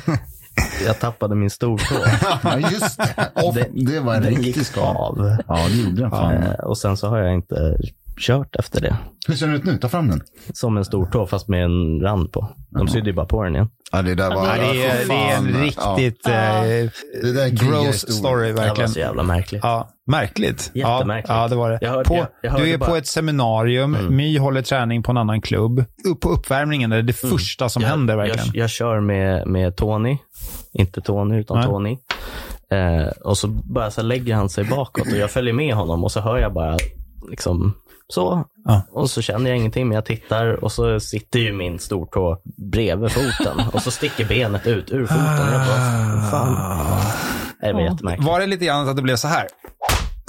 Speaker 2: Jag tappade min stortå.
Speaker 4: Ja, just det. Och det, var en
Speaker 2: Den
Speaker 4: riktig
Speaker 2: gick
Speaker 4: skada.
Speaker 2: av.
Speaker 4: Ja, det gjorde den fan.
Speaker 2: Eh, Och sen så har jag inte kört efter det.
Speaker 4: Hur ser den ut nu? Ta fram den.
Speaker 2: Som en stortå fast med en rand på. De sydde ju bara på den igen.
Speaker 4: Ja, det där var...
Speaker 1: Ja, det,
Speaker 4: Ja,
Speaker 1: är,
Speaker 4: för
Speaker 1: det är en
Speaker 4: fan.
Speaker 1: riktigt eh,
Speaker 4: Ja, det där är
Speaker 1: gross
Speaker 4: krigarhistoria.
Speaker 1: story
Speaker 2: Det var
Speaker 1: verkligen.
Speaker 2: så jävla märkligt.
Speaker 1: Ja, märkligt.
Speaker 2: alltså, Jättemärkligt.
Speaker 1: Ja, ja, det var det.
Speaker 2: Jag hörde-
Speaker 1: på,
Speaker 2: jag- jag hörde
Speaker 1: du är på
Speaker 2: bara- Mm.
Speaker 1: ett seminarium, My håller träning på en annan klubb. Upp på uppvärmningen är det, det första som händer verkligen.
Speaker 2: Mm. Jag, jag kör med, med Tony. Inte Tony, utan
Speaker 1: Nej.
Speaker 2: Tony. Eh, och så bara så här lägger han sig bakåt och jag följer med honom och så hör jag bara liksom så.
Speaker 1: Ja.
Speaker 2: Och så känner jag ingenting, men jag tittar och så sitter ju min stortå bredvid foten och så sticker benet ut ur foten. Jag bara, fan.
Speaker 1: Ah.
Speaker 2: Nej, Det var
Speaker 3: Ja.
Speaker 2: jättemärkligt.
Speaker 1: Var det lite grann så att det blev så här?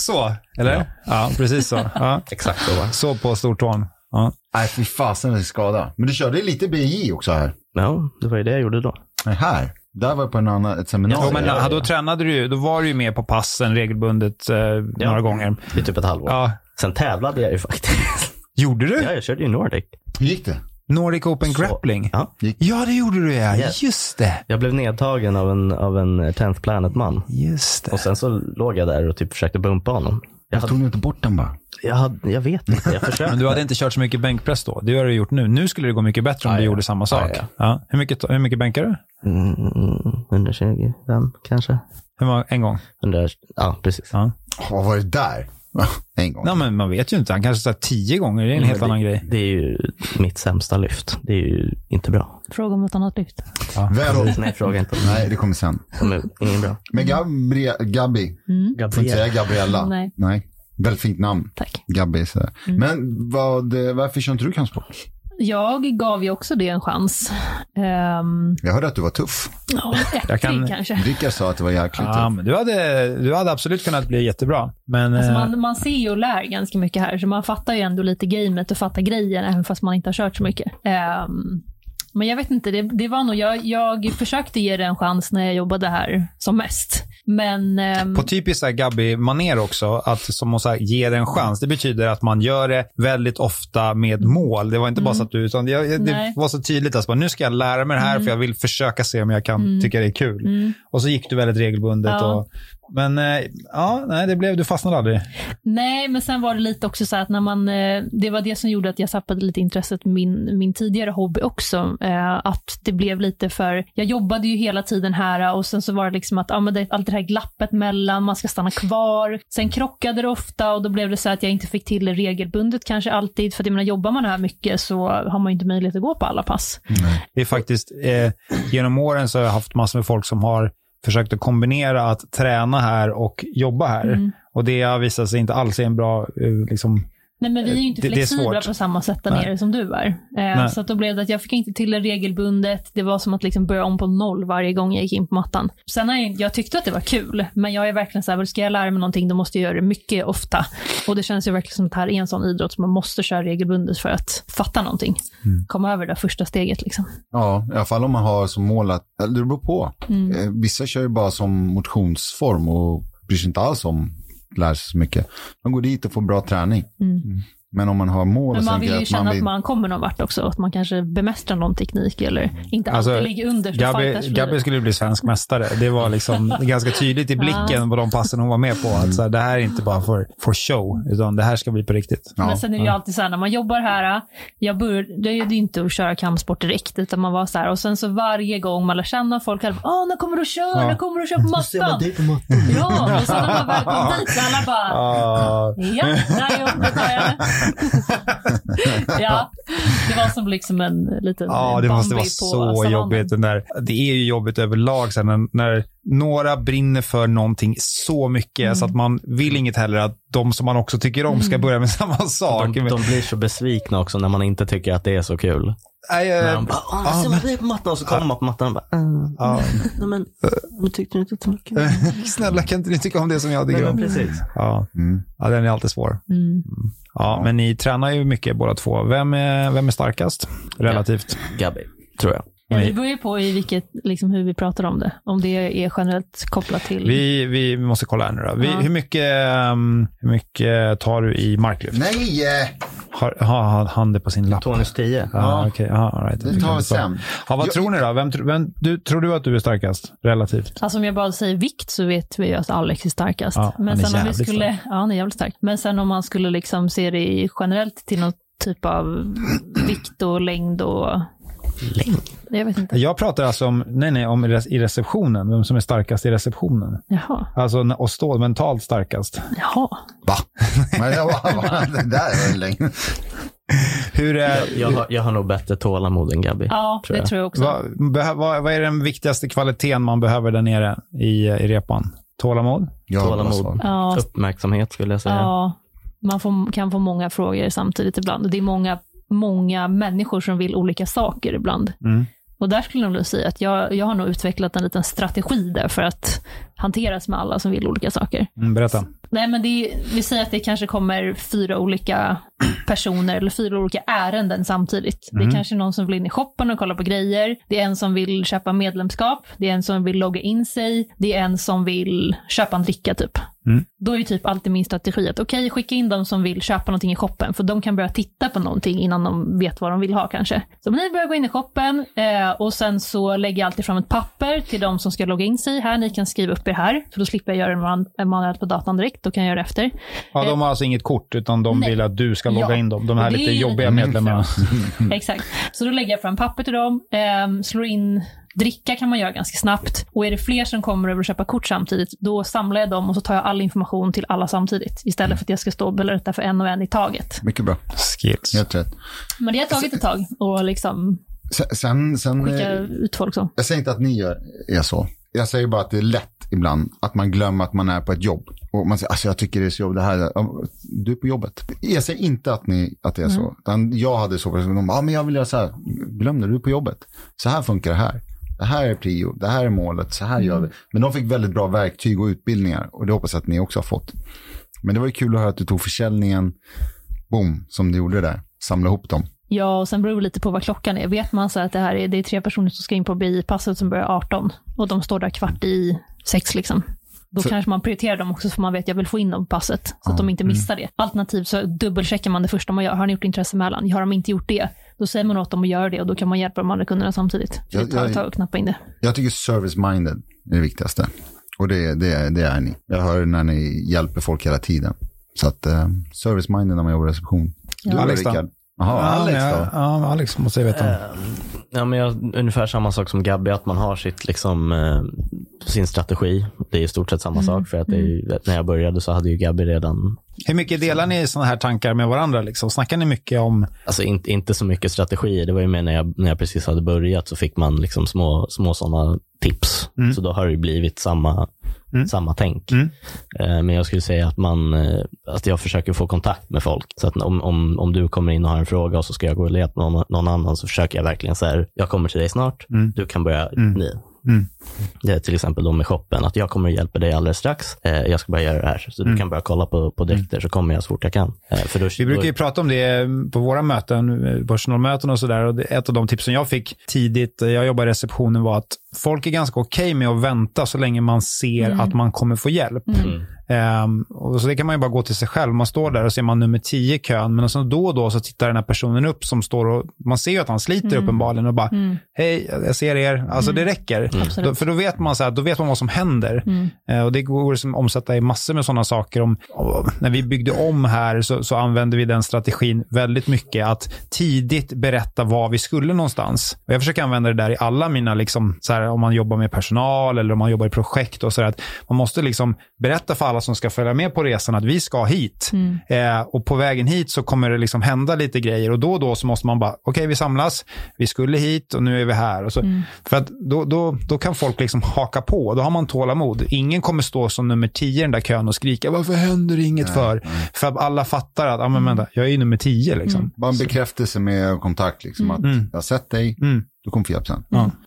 Speaker 1: Så, eller? Ja, precis så. Ja.
Speaker 2: Exakt så. va?
Speaker 1: Så på stortån. Ja.
Speaker 4: Nej, fy fasen vilken skada. Men du körde lite BJ också här.
Speaker 2: Ja, det var ju det jag gjorde då.
Speaker 4: Nej, här. Där var jag på en annan, ett seminarium.
Speaker 1: Jo, men
Speaker 2: ja, ja.
Speaker 1: Då tränade du ju, då var du ju med på passen regelbundet eh, några gånger.
Speaker 2: I typ ett halvår.
Speaker 1: Ja.
Speaker 2: Sen tävlade jag ju faktiskt.
Speaker 1: Gjorde du?
Speaker 2: Ja, jag körde ju Nordic.
Speaker 4: Hur gick det?
Speaker 1: Nordic Open
Speaker 2: Så-
Speaker 1: Grappling?
Speaker 2: Ja.
Speaker 1: Ja, det gjorde du ja.
Speaker 2: Yes.
Speaker 1: Just det.
Speaker 2: Jag blev nedtagen av en, av en 10th Planet-man.
Speaker 1: Just det.
Speaker 2: Och sen så låg jag där och typ försökte bumpa honom. Jag,
Speaker 4: Jag
Speaker 2: hade,
Speaker 4: tog inte bort den bara.
Speaker 2: jag, hade, jag vet inte, jag
Speaker 1: Men
Speaker 2: försökte.
Speaker 1: du hade inte kört så mycket bänkpress då. Det har du gjort nu. Nu skulle det gå mycket bättre om
Speaker 2: Ah,
Speaker 1: du
Speaker 2: ja.
Speaker 1: gjorde samma sak.
Speaker 2: Ah, ja.
Speaker 1: Ja. Hur, mycket, hur mycket bänkar du?
Speaker 2: Mm, 120 gram kanske.
Speaker 1: Hur många, en gång?
Speaker 2: 100, ja, precis.
Speaker 1: Ja.
Speaker 4: Vad var det där? En gång.
Speaker 1: Nej, men man vet ju inte. Han kanske sa tio gånger. Det är en helt annan grej.
Speaker 2: Det är ju mitt sämsta lyft. Det är ju inte bra.
Speaker 3: fråga om något annat lyft.
Speaker 4: Väl...
Speaker 1: Alltså-
Speaker 2: Nej, fråga inte.
Speaker 4: Nej, det kommer sen.
Speaker 2: De är ingen bra.
Speaker 4: Men Gabri... Gabi. Får inte säga Mm. Gabriella.
Speaker 3: Nej. Mm.
Speaker 4: Väldigt fint namn.
Speaker 3: Tack.
Speaker 4: Gabbi. sådär. Men vad, eh, varför kör inte du kampsport?
Speaker 3: Jag gav ju också det en chans. Ehm,
Speaker 4: Jag hörde att du var tuff.
Speaker 3: ja,
Speaker 1: Jag
Speaker 3: ettrig
Speaker 1: kan-
Speaker 3: kanske.
Speaker 4: Rickard sa att det var jäkligt
Speaker 1: Ja,
Speaker 4: tuff.
Speaker 1: men du, hade, du hade absolut kunnat bli jättebra. Men
Speaker 3: Alltså
Speaker 1: eh,
Speaker 3: man, man ser ju och lär ganska mycket här, så man fattar ju ändå lite gamet och fattar grejer, även fast man inte har kört så mycket. Ehm, men jag vet inte, det, det var nog, jag, jag försökte ge det en chans när jag jobbade här som mest. Men ehm,
Speaker 1: på typiskt så här Gabby-manér också, att som hon så här, ge det en chans. Det betyder att man gör det väldigt ofta med mål. Det var inte bara så att du, utan jag, jag- det
Speaker 3: Mm. Nej. Mm.
Speaker 1: var så tydligt. Alltså, bara, nu ska jag lära mig det här för jag vill försöka se om jag kan tycka det är kul. Och så gick du väldigt regelbundet
Speaker 3: Ja.
Speaker 1: och Men eh, ja, nej, det blev, du fastnade aldrig.
Speaker 3: Nej, men sen var det lite också så här att när man, eh, det var det som gjorde att jag tappade lite intresset med min, min tidigare hobby också. Eh, att det blev lite för, jag jobbade ju hela tiden här och sen så var det liksom att, ja men det, allt det här glappet mellan, man ska stanna kvar. Sen krockade det ofta och då blev det så här att jag inte fick till det regelbundet kanske alltid. För att jag menar, jobbar man här mycket så har man ju inte möjlighet att gå på alla pass.
Speaker 1: Det är faktiskt, eh, genom åren så har jag haft massor med folk som har försökt att kombinera att träna här och jobba här.
Speaker 3: Mm.
Speaker 1: Och det har visat sig inte alls är en bra eh, liksom,
Speaker 3: Nej, men vi är ju inte
Speaker 1: Det- det är
Speaker 3: flexibla
Speaker 1: svårt.
Speaker 3: på samma sätt där
Speaker 1: Nej.
Speaker 3: nere som du är. Eh, så att då blev det att jag fick inte till det regelbundet. Det var som att liksom börja om på noll varje gång jag gick in på mattan. Sen har jag, jag tyckte att det var kul, men jag är verkligen så här, ska jag lära mig någonting, då måste jag göra det mycket ofta. Och det känns ju verkligen som att det här är en sån idrott som man måste köra regelbundet för att fatta någonting.
Speaker 1: Mm.
Speaker 3: Komma över det där första steget liksom.
Speaker 4: Ja, i alla fall om man har som mål att, eller det beror på.
Speaker 3: Mm.
Speaker 4: Eh, Vissa kör ju bara som motionsform och bryr sig inte alls om att lära sig så mycket. Man går dit och får bra träning. Mm. Men om man har mål
Speaker 3: Mm. Men
Speaker 4: och
Speaker 3: man
Speaker 4: tänker
Speaker 3: vill ju
Speaker 4: att
Speaker 3: känna
Speaker 4: man
Speaker 3: att man kommer någon vart också, att man kanske bemästrar någon teknik eller inte alltid
Speaker 1: Alltså,
Speaker 3: ligger under. så
Speaker 1: Gabby,
Speaker 3: fightas för
Speaker 1: Gabby
Speaker 3: det.
Speaker 1: skulle bli svensk mästare. Det var liksom ganska tydligt i blicken på de passen hon var med på. Att så här, det här är inte bara för, för show, utan det här ska bli på riktigt.
Speaker 4: Ja.
Speaker 3: Men sen är det ju alltid så här när man jobbar här, jag började ju inte att köra kampsport direkt, utan man var så här och sen så varje gång man lär känna folk, här, åh, när kommer du att köra?
Speaker 1: Ja.
Speaker 3: När kommer du att köra på mattan?
Speaker 2: på mattan.
Speaker 3: Ja, och sen när man väl kom dit så alla bara,
Speaker 2: Ah.
Speaker 3: ja, där är jobbet, där är det." Ja, det var som liksom en liten
Speaker 1: Ja, det måste
Speaker 3: Bambi
Speaker 1: vara
Speaker 3: på
Speaker 1: så
Speaker 3: savannen.
Speaker 1: jobbigt. Den där, det är ju jobbigt överlag sen när, när några brinner för någonting så mycket
Speaker 3: Mm.
Speaker 1: så att man vill inget heller att de som man också tycker om ska börja med samma sak.
Speaker 2: De, de blir så besvikna också när man inte tycker att det är så kul.
Speaker 1: Nej, eh,
Speaker 2: När de bara, "Åh, jag ser vad det är på mattan och så kommer man på mattan och bara, "Mm,
Speaker 1: ja.
Speaker 2: nej men, men tyckte du inte att det var kul?
Speaker 1: Snälla, kan inte ni tycka om det som jag
Speaker 2: Nej,
Speaker 1: tycker
Speaker 2: men
Speaker 1: om?
Speaker 2: precis.
Speaker 1: Ja.
Speaker 4: Mm.
Speaker 1: ja, den är alltid svår.
Speaker 3: Mm.
Speaker 1: Ja, men ni tränar ju mycket båda två. Vem är, vem är starkast relativt?
Speaker 2: Gabby, tror jag.
Speaker 3: Ja,
Speaker 1: Nej.
Speaker 3: det beror ju på i vilket, liksom hur vi pratar om det. Om det är generellt kopplat till...
Speaker 1: Vi, vi vi måste kolla här nu då. Vi,
Speaker 3: Ja.
Speaker 1: hur, mycket, ehm, hur mycket tar du i marklyft?
Speaker 4: Nej, eh,
Speaker 1: Har, har har han det på sin lapp?
Speaker 2: Tonus 10.
Speaker 1: Ja, okej. Ja, all right.
Speaker 4: det tar vi sen.
Speaker 1: Ja, vad
Speaker 4: Jag-
Speaker 1: tror ni då? Vem, tr- vem, du, tror du att du är starkast relativt?
Speaker 3: Alltså om jag bara säger vikt så vet vi ju att Alex är starkast.
Speaker 1: Ja, han är
Speaker 3: Men sen om vi
Speaker 1: jävligt
Speaker 3: skulle, ja, han är jävligt stark. Men sen om man skulle liksom se det i generellt till någon typ av vikt och längd och...
Speaker 2: Längd?
Speaker 3: Jag vet inte.
Speaker 1: Jag pratar alltså om, nej, nej, om i re- i receptionen. Vem som är starkast i receptionen.
Speaker 3: Jaha.
Speaker 1: Alltså n- och stå mentalt starkast.
Speaker 3: Jaha.
Speaker 4: Va? Men jag bara, va? Det där är länge.
Speaker 1: Hur är,
Speaker 2: Jag har, jag har nog bättre tålamod än Gabby.
Speaker 3: Ja,
Speaker 2: Tror
Speaker 3: det
Speaker 2: jag.
Speaker 3: tror jag också.
Speaker 1: vad, behö- vad, vad är den viktigaste kvaliteten man behöver där nere i, i repan? Tålamod?
Speaker 4: Jag har bra
Speaker 2: Tålamod.
Speaker 4: svar.
Speaker 3: Ja,
Speaker 2: Uppmärksamhet skulle jag säga.
Speaker 3: ja. Man får, kan få många frågor samtidigt ibland. Och det är många, många människor som vill olika saker ibland.
Speaker 1: Mm.
Speaker 3: Och där skulle jag nog säga att jag, jag har nog utvecklat en liten strategi där för att hanteras med alla som vill olika saker.
Speaker 1: Mm, berätta.
Speaker 3: Nej, men det är, vi säger att det kanske kommer fyra olika personer eller fyra olika ärenden samtidigt. Det är kanske någon som vill in i shoppen och kolla på grejer. Det är en som vill köpa medlemskap. Det är en som vill logga in sig. Det är en som vill köpa en dricka typ.
Speaker 1: Mm.
Speaker 3: Då är ju typ alltid min strategi att okej, skicka in de som vill köpa någonting i shoppen, för de kan börja titta på någonting innan de vet vad de vill ha kanske. Så ni börjar gå in i shoppen eh, och sen så lägger jag alltid fram ett papper till de som ska logga in sig här. Ni kan skriva upp er här, för då slipper jag göra det man- manuellt på datan direkt. Då kan jag göra det efter.
Speaker 1: Ja, de har alltså inget kort, utan de
Speaker 3: Nej.
Speaker 1: vill att du ska logga
Speaker 3: Ja.
Speaker 1: in dem. De här
Speaker 3: Det är
Speaker 1: lite
Speaker 3: ju
Speaker 1: jobbiga
Speaker 3: lite
Speaker 1: medlemmarna.
Speaker 3: Exakt. Så då lägger jag fram papper till dem, ehm, slår in Dricka kan man göra ganska snabbt och är det fler som kommer över och köpa kort samtidigt, då samlar jag dem och så tar jag all information till alla samtidigt istället för att jag ska stå och berätta för en och en i taget.
Speaker 4: Mycket bra.
Speaker 1: Skills.
Speaker 4: Helt rätt.
Speaker 3: Men det har tagit ett tag och liksom
Speaker 4: Sen, sen, sen
Speaker 3: skicka
Speaker 4: eh,
Speaker 3: ut folk så.
Speaker 4: jag säger inte att ni gör, är så. Jag säger bara att det är lätt ibland att man glömmer att man är på ett jobb. Och man säger, alltså jag tycker det är så jobb, det här, ja, du är på jobbet. Jag säger inte att, ni, att det är så. Utan jag hade så, de bara, ah, men jag vill göra så här. Glöm det, du är på jobbet. Så här funkar det här. Det här är prio, det här är målet, så här gör vi. Men de fick väldigt bra verktyg och utbildningar och det hoppas jag att ni också har fått. Men det var ju kul att höra att du tog försäljningen, boom, som du gjorde där. Samla ihop dem.
Speaker 3: Ja, och sen beror det lite på vad klockan är. Vet man så att det här är, det är tre personer som ska in på BI-passet som börjar 18 och de står där kvart i sex liksom. Då
Speaker 4: Så-
Speaker 3: kanske man prioriterar dem också för man vet att jag vill få in dem på passet så att de inte
Speaker 4: Mm.
Speaker 3: missar det. Alternativt så dubbelcheckar man det första man gör. Har ni gjort intresseanmälan? Har de inte gjort det? Då säger man åt dem att göra det och då kan man hjälpa de andra kunderna samtidigt. Så
Speaker 4: Jag-
Speaker 3: det tar
Speaker 4: jag-
Speaker 3: ett tag att knappa in det.
Speaker 4: Jag tycker service-minded är det viktigaste. Och det, det, det är ni. Jag hör när ni hjälper folk hela tiden. Så att eh, service-minded när man jobbar i reception.
Speaker 3: Ja.
Speaker 4: Du
Speaker 1: Alex då?
Speaker 4: Rickard. Jaha, Alex
Speaker 1: ja,
Speaker 4: då?
Speaker 1: men jag- Ja, Alex måste jag veta. om.
Speaker 2: Ja, men jag, ungefär samma sak som Gabby, att man har sitt, liksom, eh, sin strategi. Det är i stort sett samma
Speaker 3: Mm.
Speaker 2: sak. För att det är, ju- när jag började så hade ju Gabby redan,
Speaker 1: Hur mycket delar ni sådana här tankar med varandra? Liksom? Snackar ni mycket om...
Speaker 2: alltså inte, inte så mycket strategier. Det var ju mer när jag, när jag precis hade börjat så fick man liksom små, små sådana tips. Så då har det ju blivit samma, samma tänk.
Speaker 1: Mm.
Speaker 2: Eh, Men jag skulle säga att, man, eh, att jag försöker få kontakt med folk. Så att om, om, om du kommer in och har en fråga och så ska jag gå och leta någon, någon annan så försöker jag verkligen så här, jag kommer till dig snart, du kan börja nu.
Speaker 1: Mm.
Speaker 2: Det är till exempel då med shoppen, att jag kommer att hjälpa dig alldeles strax. Eh, jag ska bara göra det här, så du kan börja kolla på, på dräkter så kommer jag så fort jag kan. Eh, för då,
Speaker 1: Mm. Vi brukar ju
Speaker 2: då,
Speaker 1: prata om det på våra möten, eh, personalmöten och sådär. Och det- Ett av de tipsen jag fick tidigt, eh, jag jobbade i receptionen, var att folk är ganska okej med att vänta så länge man ser att man kommer få hjälp. Ehm, och så det kan man ju bara gå till sig själv. Man står där och ser man nummer 10 i kön, men så då och då så tittar den här personen upp som står och man ser ju att han sliter uppenbarligen och bara, hej, jag ser er. Alltså det räcker. Då, för då vet man så här, då vet man vad som händer. Eh, och det går som omsätta i massor med sådana saker. Om, om- när vi byggde om här så, så använde vi den strategin väldigt mycket, att tidigt berätta var vi skulle någonstans. Och jag försöker använda det där i alla mina, liksom, så här, om man jobbar med personal eller om man jobbar i projekt och så där, att man måste liksom berätta för alla som ska följa med på resan att vi ska hit. Eh, och på vägen hit så kommer det liksom hända lite grejer och då och då så måste man bara, okej vi samlas, vi skulle hit och nu är vi här. Och så, För att då, då, då kan folk liksom haka på, då har man tålamod. Ingen kommer stå som nummer 10 i den där kön och skrika, varför händer det inget för? För att alla fattar att, ah, men vänta, jag är ju nummer 10 liksom.
Speaker 4: Bara en bekräftelse med kontakt. Liksom,
Speaker 1: Mm.
Speaker 4: att Jag har sett dig, du kommer få hjälp sen.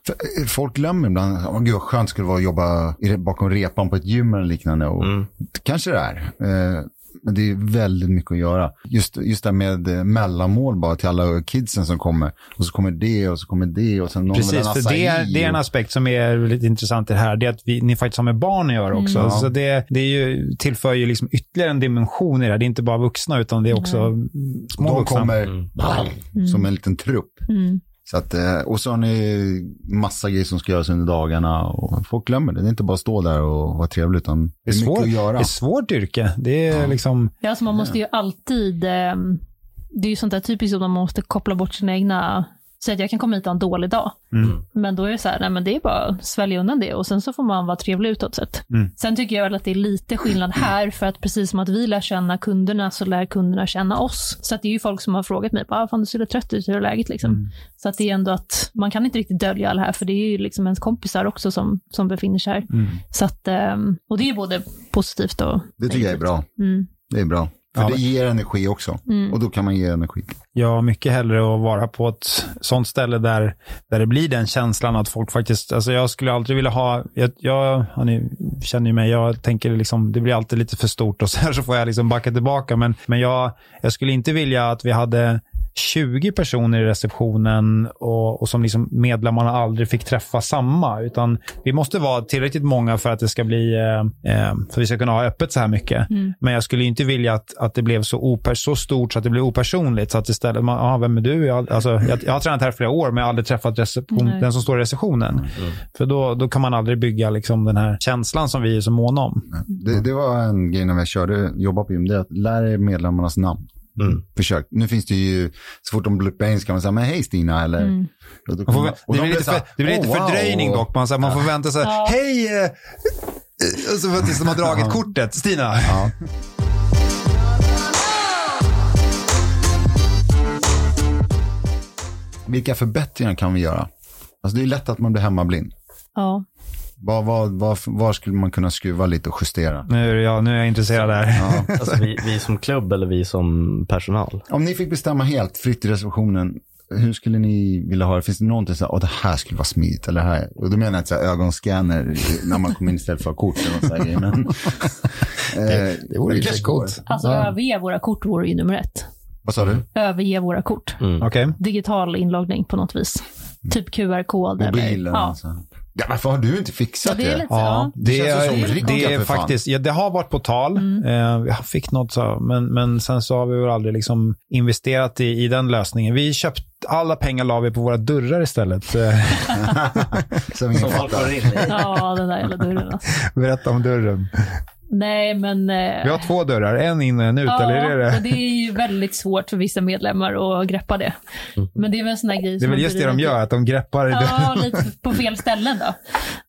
Speaker 4: För, eh, Folk glömmer ibland, oh, gud vad skönt skulle det vara att jobba i- bakom repan på ett gym eller liknande. Och det Kanske det är. Eh, men det är väldigt mycket att göra. Just, just det här med eh, mellanmål bara till alla kidsen som kommer. Och så kommer det och så kommer det och sen någon med
Speaker 1: Precis,
Speaker 4: en
Speaker 1: för det är,
Speaker 4: acai
Speaker 1: det är en
Speaker 4: och-
Speaker 1: aspekt som är lite intressant i det här. Det är att vi, ni faktiskt har med barn att göra också.
Speaker 4: Ja.
Speaker 1: Så det, det är ju, tillför ju liksom ytterligare en dimension i det här. Det är inte bara vuxna, utan det är också mm, små
Speaker 4: De
Speaker 1: vuxna.
Speaker 4: kommer som en liten trupp.
Speaker 3: Mm.
Speaker 4: Så att, eh, och så har ni massa grejer som ska göras under dagarna. Och folk glömmer det. Det är inte bara att stå där och vara trevlig, utan det är, mycket
Speaker 1: svår-
Speaker 4: att göra.
Speaker 1: Det är svårt yrke. Det är liksom,
Speaker 3: Ja, alltså man måste ju alltid... ehm, Det är ju sånt där typiskt som man måste koppla bort sina egna... Säg att jag kan komma hit och ha en dålig dag.
Speaker 4: Mm.
Speaker 3: Men då är det så här, nej men det är bara att svälja undan det och sen så får man vara trevlig utåt sett.
Speaker 4: Mm.
Speaker 3: Sen tycker jag väl att det är lite skillnad här för att precis som att vi lär känna kunderna så lär kunderna känna oss. Så att det är ju folk som har frågat mig, bara, ah, fan du ser lite trött ut, hur är läget liksom?
Speaker 4: Mm.
Speaker 3: Så att det är ändå att man kan inte riktigt dölja allt här för det är ju liksom ens kompisar också som, som befinner sig här.
Speaker 4: Mm.
Speaker 3: Så att, ehm, och det är ju både positivt och
Speaker 4: Det tycker jag är bra.
Speaker 3: Mm.
Speaker 4: Det är bra. För
Speaker 1: Ja,
Speaker 4: det
Speaker 1: men-
Speaker 4: ger energi också. Och då kan man ge energi.
Speaker 1: jag har mycket hellre att vara på ett sånt ställe där, där det blir den känslan att folk faktiskt, alltså jag skulle aldrig vilja ha, jag, jag ja, ni känner ju mig, jag tänker liksom, det blir alltid lite för stort och så här så får jag liksom backa tillbaka. Men, men jag, jag skulle inte vilja att vi hade 20 personer i receptionen och, och som liksom medlemmarna aldrig fick träffa samma. Utan vi måste vara tillräckligt många för att det ska bli, eh, eh, för att vi ska kunna ha öppet så här mycket.
Speaker 3: Mm.
Speaker 1: Men jag skulle ju inte vilja att, att det blev så, oper, så stort så att det blev opersonligt. Så att istället, man, ah, vem är du? Jag, alltså, jag, jag har tränat här i flera år men jag har aldrig träffat reception,
Speaker 3: Nej.
Speaker 1: den som står i receptionen.
Speaker 4: Mm.
Speaker 1: För då, då kan man aldrig bygga liksom, den här känslan som vi är så måna om.
Speaker 4: Det, det var en grej när jag körde, jobbade på gym, det är att lära er medlemmarnas namn.
Speaker 2: Mm.
Speaker 4: Försök. Nu finns det ju, så fort de bluppar in så kan man säga, men hej Stina, eller... Och då
Speaker 1: Man får, vä-
Speaker 4: kommer- Mm. och
Speaker 1: det
Speaker 4: de
Speaker 1: blir lite,
Speaker 4: så här,
Speaker 1: för, det blir lite
Speaker 4: "Oh, wow."
Speaker 1: fördröjning dock. Man, så här, man får vänta så här,
Speaker 3: Ja.
Speaker 1: hej! eh, eh, Och så väntar tills de har dragit kortet. Stina.
Speaker 4: Ja. Vilka förbättringar kan vi göra? Alltså det är lätt att man blir hemmablind.
Speaker 3: ja.
Speaker 4: Var, var, var, var skulle man kunna skruva lite och justera?
Speaker 1: Nu, är jag, nu är jag intresserad här.
Speaker 4: Ja.
Speaker 2: alltså, vi, vi som klubb eller vi som personal?
Speaker 4: Om ni fick bestämma helt fritt i reservationen, hur skulle ni vilja ha det? Finns det någonting så här, åh det här skulle vara smidigt, eller det här? Och då menar jag inte så här ögonscanner när man kommer in istället för kort eller något sånt här, men... Eh, det, det vore ju
Speaker 1: kanske coolt.
Speaker 3: Alltså överge våra kort vore ju nummer ett.
Speaker 4: Vad sa du?
Speaker 3: Överge våra kort.
Speaker 1: Okej. Mm.
Speaker 3: Digital inloggning på något vis. Typ QR-kod. eller-
Speaker 4: Mobilen?
Speaker 3: Ja.
Speaker 4: Alltså. Ja, varför har du inte
Speaker 3: Ja,
Speaker 4: fixat
Speaker 3: det är lite så.
Speaker 1: Ja,
Speaker 3: Ja.
Speaker 1: det,
Speaker 4: känns
Speaker 1: är,
Speaker 4: som
Speaker 1: det,
Speaker 4: Rickard,
Speaker 1: är
Speaker 4: för fan.
Speaker 1: faktiskt, ja, det har varit på tal. Eh, jag fick något, så, men, men sen så har vi väl aldrig liksom investerat i, i den lösningen. Vi köpte alla pengar la vi på våra dörrar istället. Eh,
Speaker 4: Som ingen
Speaker 2: Folk
Speaker 4: fattar.
Speaker 2: går in i.
Speaker 3: Ja, den där jävla dörren alltså.
Speaker 1: Berätta om dörren.
Speaker 3: Nej, men... eh,
Speaker 1: Vi har två dörrar, en in och en ut, eller är det
Speaker 3: och
Speaker 1: det?
Speaker 3: det är ju väldigt svårt för vissa medlemmar att greppa det. Men det är väl en sån här grej
Speaker 1: Mm. Det är
Speaker 3: som
Speaker 1: väl
Speaker 3: man
Speaker 1: just det
Speaker 3: driver
Speaker 1: de
Speaker 3: dit.
Speaker 1: gör, att de greppar i dörren.
Speaker 3: Ja, lite på fel ställen då.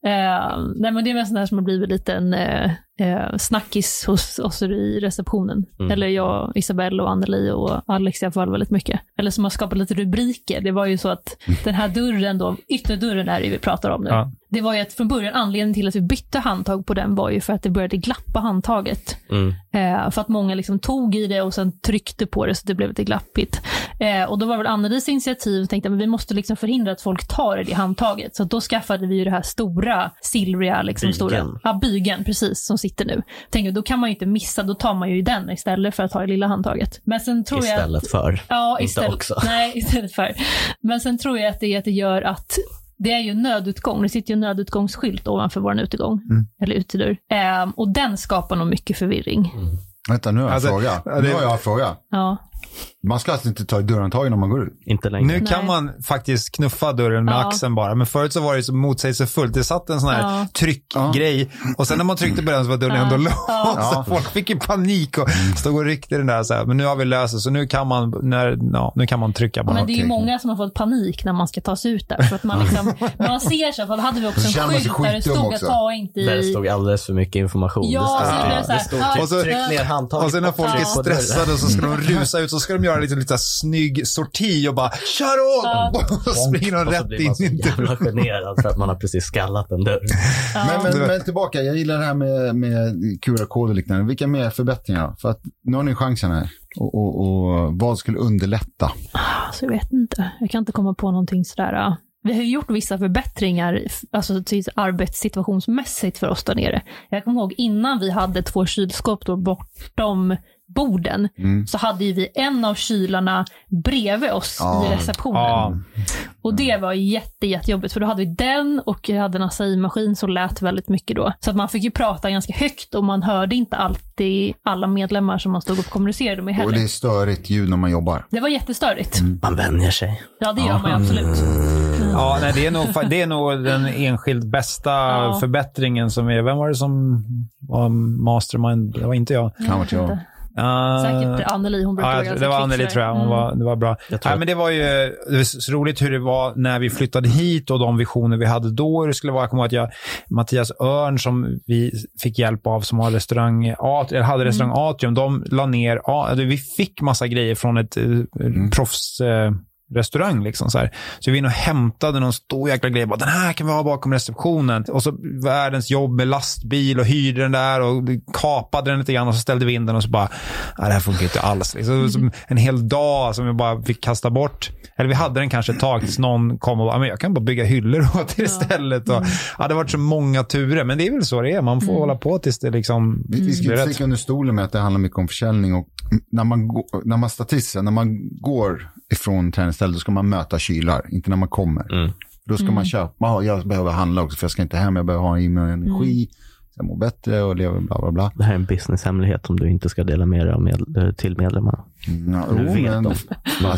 Speaker 3: Eh, nej, men det är väl sån här som har blivit lite en eh, eh, snackis hos oss i receptionen. Eller jag, Isabelle och Anneli och Alex i alla fall väldigt mycket. Eller som har skapat lite rubriker. Det var ju så att den här dörren då, ytterdörren är det vi pratar om nu.
Speaker 1: Ja.
Speaker 3: Det var ju att från början anledningen till att vi bytte handtag på den var ju för att det började glappa handtaget.
Speaker 2: Mm.
Speaker 3: Eh, för att många liksom tog i det och sen tryckte på det så det blev lite glappigt. Eh, och då var väl Annelis initiativ, tänkte att vi måste liksom förhindra att folk tar i det handtaget. Så då skaffade vi ju det här stora, silvriga, liksom
Speaker 2: Bygeln.
Speaker 3: stora, ja, bygeln precis, som sitter nu. Tänkte då kan man ju inte missa, då tar man ju i den istället för att ta det lilla handtaget. Men sen tror jag...
Speaker 2: Istället för.
Speaker 3: Ja,
Speaker 2: Inte
Speaker 3: istället,
Speaker 2: också.
Speaker 3: Nej, istället för. Men sen tror jag att det, är att det gör att det är ju en nödutgång. Det sitter ju en nödutgångsskylt ovanför vår utegång,
Speaker 2: Mm.
Speaker 3: eller utedörr. Ehm, och den skapar nog mycket förvirring.
Speaker 4: Vänta, nu har jag
Speaker 1: Alltså,
Speaker 4: en fråga.
Speaker 1: ja, det-
Speaker 4: Nu har jag en fråga.
Speaker 3: Ja.
Speaker 4: Man ska alltså inte ta i dörrhandtagen om man går ut?
Speaker 2: Inte längre.
Speaker 1: Nu kan
Speaker 3: Nej.
Speaker 1: man faktiskt knuffa dörren med
Speaker 3: Ja.
Speaker 1: axeln bara, men förut så var det så motsägelsefullt. Det satt en sån här
Speaker 3: Ja.
Speaker 1: tryckgrej och sen när man tryckte på den så var dörren ändå låst.
Speaker 4: Ja.
Speaker 1: Så Folk fick ju panik och stod och ryckte den där. Så här. Men nu har vi löst det, så nu kan man, när, ja, nu kan man trycka bara.
Speaker 3: Men det är ju
Speaker 4: okej.
Speaker 3: många som har fått panik när man ska ta sig ut där. För att man, liksom, man ser sig, för då hade vi också
Speaker 4: Så känner
Speaker 3: en
Speaker 4: man sig
Speaker 3: skylt där det
Speaker 4: skitdum
Speaker 3: stod att
Speaker 4: också.
Speaker 3: ta inte
Speaker 2: Där det
Speaker 3: i.
Speaker 2: stod alldeles för mycket information.
Speaker 3: Ja,
Speaker 2: det
Speaker 3: så
Speaker 2: stod,
Speaker 3: blev det så här,
Speaker 2: det
Speaker 3: ja,
Speaker 2: stod typ,
Speaker 3: tryck
Speaker 2: tryck
Speaker 3: ner
Speaker 2: ner handtaget.
Speaker 1: Och sen Alltså, när folk
Speaker 3: Ja.
Speaker 1: är stressade så ska de rusa ut så ska de göra lite, lite snygg sorti och bara kör åt! Och springer de
Speaker 2: Och så
Speaker 1: rätt
Speaker 2: blir man
Speaker 1: in
Speaker 2: så
Speaker 1: i dörren.
Speaker 2: jävla generad för att man har precis skallat en dörr.
Speaker 3: Ja.
Speaker 4: Men, men, men tillbaka, jag gillar det här med, med QR-kod och liknande. Vilka mer förbättringar? då? För att nu har ni chansen här. Och, och, och vad skulle underlätta?
Speaker 3: Alltså, jag vet inte. Jag kan inte komma på någonting sådär. ja. Vi har ju gjort vissa förbättringar f- alltså, till arbetssituationsmässigt för oss där nere. Jag kommer ihåg innan vi hade två kylskåp då bortom borden
Speaker 4: Mm.
Speaker 3: så hade ju vi en av kylarna bredvid oss
Speaker 4: Ja.
Speaker 3: i receptionen.
Speaker 1: Ja,
Speaker 3: Och det
Speaker 1: Mm.
Speaker 3: var jätte, jättejobbigt för då hade vi den och jag hade en acai-maskin som lät väldigt mycket då. Så att man fick ju prata ganska högt och man hörde inte alltid alla medlemmar som man stod och kommunicerade med
Speaker 4: Och
Speaker 3: heller.
Speaker 4: det är
Speaker 3: Det...
Speaker 4: störigt ljud när man jobbar.
Speaker 3: var jättestörigt.
Speaker 1: Mm.
Speaker 2: Man vänjer sig.
Speaker 3: Ja, det gör man ju absolut.
Speaker 1: ja nej, det, är nog, fa- det är nog den enskilt bästa
Speaker 3: Ja.
Speaker 1: förbättringen som är. Vem var det som var mastermind? Det var inte jag.
Speaker 4: Kan vara till jag.
Speaker 1: Uh,
Speaker 3: Säkert Anneli, hon brukar vara
Speaker 1: Ja,
Speaker 3: ganska
Speaker 1: det var
Speaker 3: kvick
Speaker 1: Anneli
Speaker 3: sådär.
Speaker 1: tror jag. Hon
Speaker 3: Mm.
Speaker 1: var, det var bra.
Speaker 2: Jag tror
Speaker 1: Nej,
Speaker 2: att-
Speaker 1: men det var ju det var så roligt hur det var när vi flyttade hit och de visioner vi hade då. Hur det skulle vara. Jag kommer ihåg att jag, Mattias Örn som vi fick hjälp av som har restaurang, At- eller
Speaker 3: Mm.
Speaker 1: hade restaurang Atrium, de la ner, A- eller vi fick massa grejer från ett eh,
Speaker 2: Mm.
Speaker 1: proffs... Eh, restaurang. Liksom, så, här. så vi var inne och hämtade någon stor jäkla grej. Bara, den här kan vi ha bakom receptionen. Och så världens jobb med lastbil och hyrde den där och kapade den lite grann och så ställde vi in den och så bara, nej det här funkar inte alls. Liksom. Som en hel dag som vi bara fick kasta bort. Eller vi hade den kanske ett tag tills någon kom och bara, men jag kan bara bygga hyllor åt er istället. Och, ja, det har varit så många turer, men det är väl så det är. Man får hålla på tills det liksom
Speaker 4: Vi, vi ska
Speaker 1: blir
Speaker 4: inte
Speaker 1: rätt.
Speaker 4: sticka under stolen med att det handlar mycket om försäljning. Och när man, går- när man statistiskt, när man går ifrån träningsstället, då ska man möta kylar, inte när man kommer. Då ska man köpa, ja, jag behöver handla också för jag ska inte hem, jag behöver ha i mig energi, jag mår bättre och lever bla bla bla.
Speaker 2: Det här är en businesshemlighet som du inte ska dela med dig av med, eh, till medlemmarna.
Speaker 4: Ja,
Speaker 2: Nu
Speaker 4: jo,
Speaker 2: vet
Speaker 4: men-
Speaker 2: de.
Speaker 4: Fast-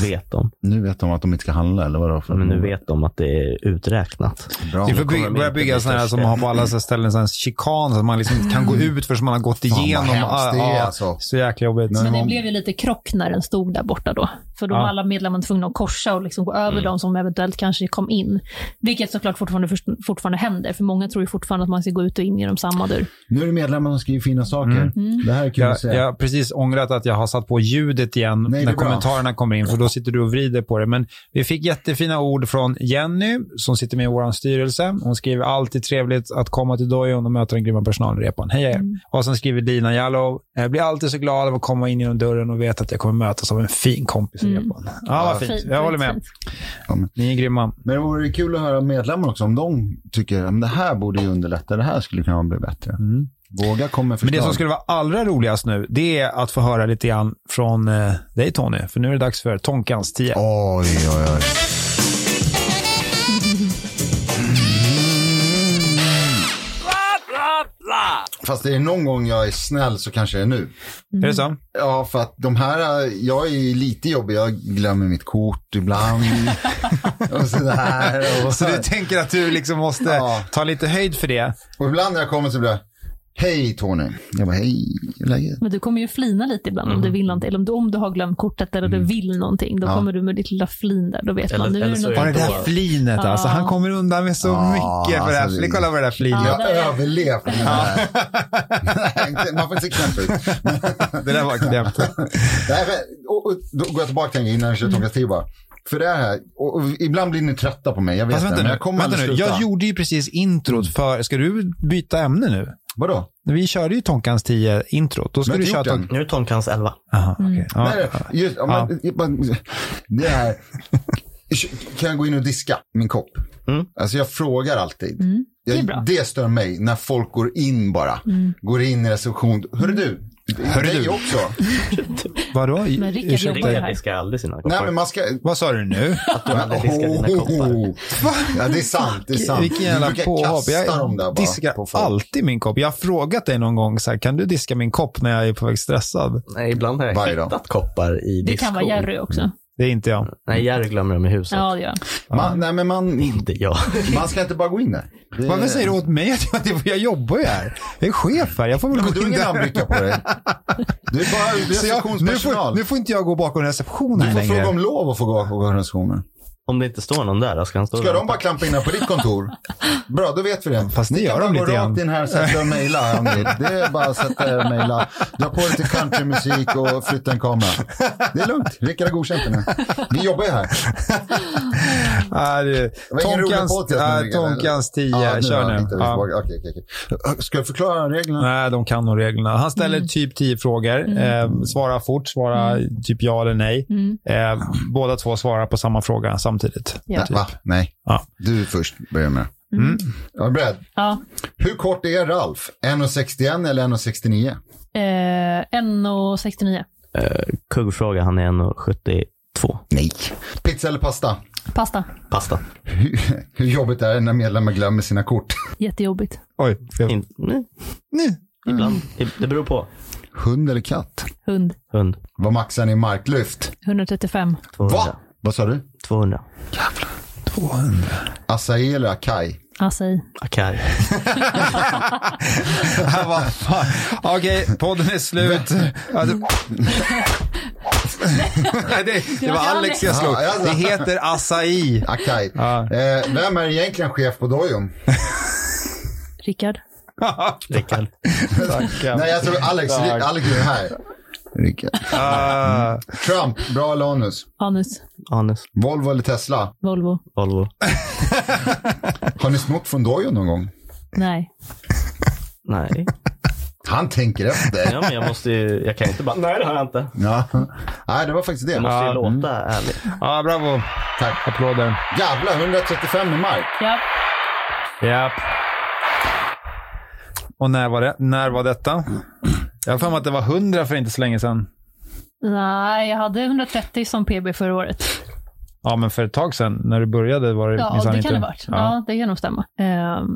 Speaker 2: Nu vet de.
Speaker 4: Nu vet de att de inte ska handla eller vadå? För
Speaker 2: Men
Speaker 1: Mm.
Speaker 2: nu vet de att det är uträknat.
Speaker 4: Bra.
Speaker 1: Vi får
Speaker 2: kommer
Speaker 1: by-
Speaker 2: de
Speaker 1: börja
Speaker 2: inte
Speaker 1: bygga
Speaker 2: bli
Speaker 1: sådana här som
Speaker 2: törstiga.
Speaker 1: har på alla så här ställen, sån här chikan, så att man liksom inte kan gå ut förrän man har gått
Speaker 4: Mm. vad
Speaker 1: igenom.
Speaker 4: hemskt det är,
Speaker 1: Ja,
Speaker 4: alltså.
Speaker 1: Så jäkla jobbigt.
Speaker 4: Nej.
Speaker 3: Men det
Speaker 4: Någon-
Speaker 3: blev ju lite krock när den stod där borta då. För då var
Speaker 1: Ja. Mm.
Speaker 3: alla medlemmar tvungna att korsa och liksom gå över de som eventuellt kanske kom in. Vilket såklart fortfarande, först- fortfarande händer, för många tror ju fortfarande att man ska gå ut och in genom samma dörr.
Speaker 4: Nu är det medlemmar som skriver fina saker. Det här är kul
Speaker 1: Jag
Speaker 4: att se.
Speaker 1: jag har precis ångrat att jag har satt på ljudet igen
Speaker 4: Nej, det
Speaker 1: när
Speaker 4: är bra.
Speaker 1: kommentarerna kommer in, för då sitter du och vrider på det. Men vi fick jättefina ord från Jenny, som sitter med i vår styrelse. Hon skriver alltid trevligt att komma till Dojon och möta den grymma personalrepan. Hej er.
Speaker 3: Mm.
Speaker 1: Och sen skriver Dina Jallow, jag blir alltid så glad av att komma in genom dörren och veta att jag kommer mötas av en fin kompis i repan. Ja, vad fint. Jag håller med.
Speaker 3: Mm. fint.
Speaker 1: Ni är grymma.
Speaker 4: Men det vore kul att höra medlemmar också om de tycker att det här borde ju underlätta, det här skulle kunna bli bättre. Våga komma med
Speaker 1: Mm.
Speaker 4: förslag.
Speaker 1: Men det som skulle vara allra roligast nu, det är att få höra lite grann från eh, dig Tony, för nu är det dags för Tonkans 10.
Speaker 4: Oj, oj, oj. Fast det är någon gång jag är snäll så kanske det är nu.
Speaker 1: Är det
Speaker 4: Mm.
Speaker 1: så?
Speaker 4: Ja, för att de här, eh, jag är lite jobbig. Jag glömmer mitt kort ibland. och sådär. Och,
Speaker 1: Så du tänker att du liksom måste
Speaker 4: Ja.
Speaker 1: ta lite höjd för det?
Speaker 4: och ibland när jag kommer så blir jag, hej Tony. Jag bara, hej, hur är läget?
Speaker 3: Men du kommer ju flina lite ibland om du
Speaker 2: Mhm.
Speaker 3: vill någonting. Eller om du, om du har glömt kortet eller du vill någonting. Då
Speaker 4: Ja.
Speaker 3: kommer du med ditt lilla flin där. Då vet
Speaker 2: Mm. Eller-
Speaker 3: man. Nu är
Speaker 2: eller
Speaker 3: det
Speaker 2: så
Speaker 3: något
Speaker 2: är
Speaker 1: Bara det
Speaker 3: annat.
Speaker 1: där flinet alltså. Han kommer undan med så
Speaker 4: Ja,
Speaker 1: mycket för det här.
Speaker 4: alltså det-
Speaker 1: Kolla på det där flinet.
Speaker 4: Jag
Speaker 3: Ja, där är-
Speaker 4: överlevde med det här. Nej, inte- Man får inte se knäpp ut.
Speaker 1: Det där var knäppt.
Speaker 4: Nej, men, och, och, då går jag tillbaka till en grej innan jag kör Tonkas Tiba. För det här, och, och ibland blir ni trötta på mig. Jag vet
Speaker 1: Fast
Speaker 4: det,
Speaker 1: vänta
Speaker 4: men
Speaker 1: nu.
Speaker 4: jag kommer
Speaker 1: Vänta
Speaker 4: aldrig
Speaker 1: nu.
Speaker 4: sluta.
Speaker 1: Jag gjorde ju precis introt för... Ska du byta ämne nu?
Speaker 4: Vadå?
Speaker 1: Vi körde ju Tonkans 10 introt. Då ska
Speaker 4: Men
Speaker 1: du
Speaker 4: jag har
Speaker 1: köra
Speaker 4: inte gjort Mm.
Speaker 1: Tonk...
Speaker 2: Nu är Tonkans 11.
Speaker 1: Aha, okej. Ja.
Speaker 4: Nej, nej, just, ja, men, bara- det här. Kan jag gå in och diska min kopp?
Speaker 2: Mm.
Speaker 4: Alltså jag frågar alltid.
Speaker 3: är
Speaker 4: Jag-
Speaker 3: bra. Mm.
Speaker 4: det stör mig när folk går in bara. Går in i reception. Hörru du.
Speaker 1: Hörru
Speaker 4: dig
Speaker 1: du.
Speaker 4: också.
Speaker 1: Vadå?
Speaker 3: Men Rickard
Speaker 1: Ursäkta?
Speaker 3: jobbar ju
Speaker 2: Rickard
Speaker 3: här.
Speaker 2: diskar aldrig sina koppar.
Speaker 4: Nej men man ska.
Speaker 1: Vad sa du nu?
Speaker 2: Att du aldrig diskar dina koppar.
Speaker 4: Oh. Ja, det är sant. Det är sant.
Speaker 1: Vilken jävla
Speaker 4: du brukar
Speaker 1: påhopp.
Speaker 4: kasta dem
Speaker 1: Jag
Speaker 4: där bara.
Speaker 1: diskar
Speaker 4: på folk.
Speaker 1: alltid min kopp. Jag har frågat dig någon gång, så här, kan du diska min kopp när jag är på väg stressad?
Speaker 2: Nej, ibland har jag
Speaker 4: Varje dag.
Speaker 2: hittat koppar i
Speaker 3: Det kan vara
Speaker 2: diskon. Mm,
Speaker 3: Jerry också.
Speaker 1: Det är inte jag.
Speaker 2: Nej, Jerry glömmer dem i huset.
Speaker 3: Ja, det gör han.
Speaker 4: Man, nej men man,
Speaker 2: Inte jag.
Speaker 4: man ska inte bara gå in där. Det-
Speaker 1: Varför säger du åt mig att jag, jag jobbar ju här? Jag är chef här. Jag får väl
Speaker 4: Men
Speaker 1: gå
Speaker 4: du
Speaker 1: in
Speaker 4: har ingen
Speaker 1: där.
Speaker 4: armbrytare på dig. Du är bara
Speaker 1: Så jag, nu, får,
Speaker 4: receptionspersonal.
Speaker 1: nu
Speaker 4: Du
Speaker 1: får inte jag gå bakom receptionen
Speaker 4: får
Speaker 1: längre.
Speaker 4: fråga om lov att få gå på organisationen.
Speaker 2: Om det inte står någon där, ska han stå
Speaker 4: Ska
Speaker 2: där?
Speaker 4: de bara klampa in här på ditt kontor? Bra, då vet vi det.
Speaker 1: Fast det
Speaker 4: Ni kan
Speaker 1: gör de
Speaker 4: bara gå
Speaker 1: lite grann.
Speaker 4: rakt in här, sätta er och mejla. Andy. Det är bara att sätta er och mejla. Dra på lite countrymusik och flytta en kamera. Det är lugnt. Rickard har godkänt det nu. Vi jobbar ju här.
Speaker 1: Ja, det-
Speaker 4: Det var ingen rolig
Speaker 1: Tonkans,
Speaker 4: podcast, men
Speaker 1: ja,
Speaker 4: Rickard, eller?
Speaker 1: Tonkans 10, kör
Speaker 4: var
Speaker 1: nu.
Speaker 4: jag lite
Speaker 1: Ja.
Speaker 4: tillbaka. Okej, okej, okej. Ska jag förklara reglerna?
Speaker 1: Nej, de kan nog reglerna. Han ställer typ 10 frågor. Eh, svara fort, svara typ ja eller nej.
Speaker 3: Mm.
Speaker 1: Eh, båda två svarar på samma fråga samtidigt.
Speaker 3: Ja.
Speaker 4: Va? Nej.
Speaker 1: Ja.
Speaker 4: Du först börjar med.
Speaker 1: Mm.
Speaker 4: Jag är beredd.
Speaker 3: Ja.
Speaker 4: Hur kort är Ralf? 1,61 eller 1,69?
Speaker 3: Eh, 1,69.
Speaker 2: Kuggfråga, han är 1,72.
Speaker 4: Nej. Pizza eller pasta?
Speaker 3: Pasta.
Speaker 2: Pasta.
Speaker 4: Hur, hur jobbigt är det när medlemmar glömmer sina kort?
Speaker 3: Jättejobbigt.
Speaker 1: Oj, fel.
Speaker 2: In, nej,
Speaker 1: Nej.
Speaker 2: ibland. I- Det beror på.
Speaker 4: Hund eller katt?
Speaker 3: Hund.
Speaker 2: Hund.
Speaker 4: Vad maxar ni marklyft?
Speaker 3: 135.
Speaker 2: 200.
Speaker 4: Va? Vad sa du?
Speaker 2: 200.
Speaker 4: Acai eller acai?
Speaker 3: Acai.
Speaker 2: Akari.
Speaker 1: Här var- fan. Okej, podden är slut. Alltså- Nej, det, det var Alex jag slog.
Speaker 4: Ja, alltså.
Speaker 1: Det heter acai.
Speaker 4: Acai.
Speaker 1: Ja.
Speaker 4: Eh, vem är egentligen chef på Dojo?
Speaker 3: Rickard.
Speaker 2: Rickard.
Speaker 1: Tackar.
Speaker 4: Nej, jag tror Alex,
Speaker 1: Tack.
Speaker 4: Alex är här. Rickard.
Speaker 1: Ah.
Speaker 4: Trump, bra eller anus?
Speaker 3: Anus.
Speaker 2: Anus.
Speaker 4: Volvo eller Tesla?
Speaker 3: Volvo.
Speaker 2: Volvo.
Speaker 4: Har ni snott från Dojo någon gång?
Speaker 3: Nej.
Speaker 2: Nej.
Speaker 4: Han tänker efter.
Speaker 2: Ja, men jag måste ju, jag kan ju inte bara, nej det har jag inte.
Speaker 4: Ja. Nej, det var faktiskt det.
Speaker 2: Jag måste ju
Speaker 1: Ja.
Speaker 2: låta ärlig.
Speaker 1: Ja, bravo.
Speaker 4: Tack.
Speaker 1: Applåder.
Speaker 4: Jävlar, 135 i mark.
Speaker 3: Ja.
Speaker 1: Japp. Och när var, det? när var detta? Jag har för mig att det var 100 för inte så länge sedan.
Speaker 3: Nej, jag hade 130 som PB förra året.
Speaker 1: Ja, men för ett tag sedan när du började var det
Speaker 3: Ja,
Speaker 1: minsann
Speaker 3: det
Speaker 1: inte.
Speaker 3: kan det ha varit. Ja.
Speaker 1: Ja.
Speaker 3: det kan nog stämma. Eh,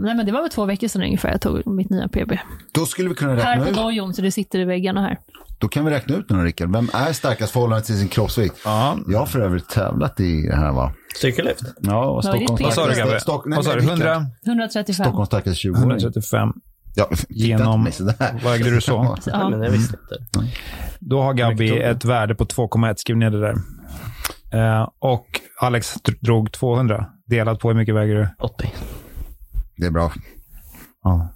Speaker 3: nej, men det var väl två veckor sedan ungefär jag tog mitt nya PB.
Speaker 4: Då skulle vi kunna
Speaker 3: Här
Speaker 4: räkna
Speaker 3: på
Speaker 4: ut.
Speaker 3: dojon, så det sitter i väggarna här.
Speaker 4: Då kan vi räkna ut nu, Rickard. Vem är starkast förhållande till sin kroppsvikt?
Speaker 1: Ja.
Speaker 4: Jag har för övrigt tävlat i det här, va?
Speaker 2: Cykellyft.
Speaker 4: Ja, och
Speaker 3: Vad är ditt
Speaker 4: Stockholms
Speaker 3: PM?
Speaker 1: Vad sa du,
Speaker 4: starkaste-
Speaker 1: Gabbe?
Speaker 4: Stock- nej,
Speaker 1: Vad sa
Speaker 4: men
Speaker 1: du?
Speaker 4: Rickard.
Speaker 1: 100?
Speaker 3: 135.
Speaker 4: Stockholms starkaste 20-åring.
Speaker 1: 135.
Speaker 4: Ja, titta inte
Speaker 1: Genom-
Speaker 4: på mig sådär.
Speaker 1: Vad ägde du så?
Speaker 2: Nej,
Speaker 3: Ja.
Speaker 2: men jag visste inte.
Speaker 1: Då har
Speaker 2: Mycket
Speaker 1: Gabby
Speaker 2: tog det.
Speaker 1: ett värde på 2,1. Skriv ner det där. Eh, och Alex dr- drog 200. Delat på hur mycket väger du?
Speaker 2: 80.
Speaker 4: Det är bra.
Speaker 1: Ja.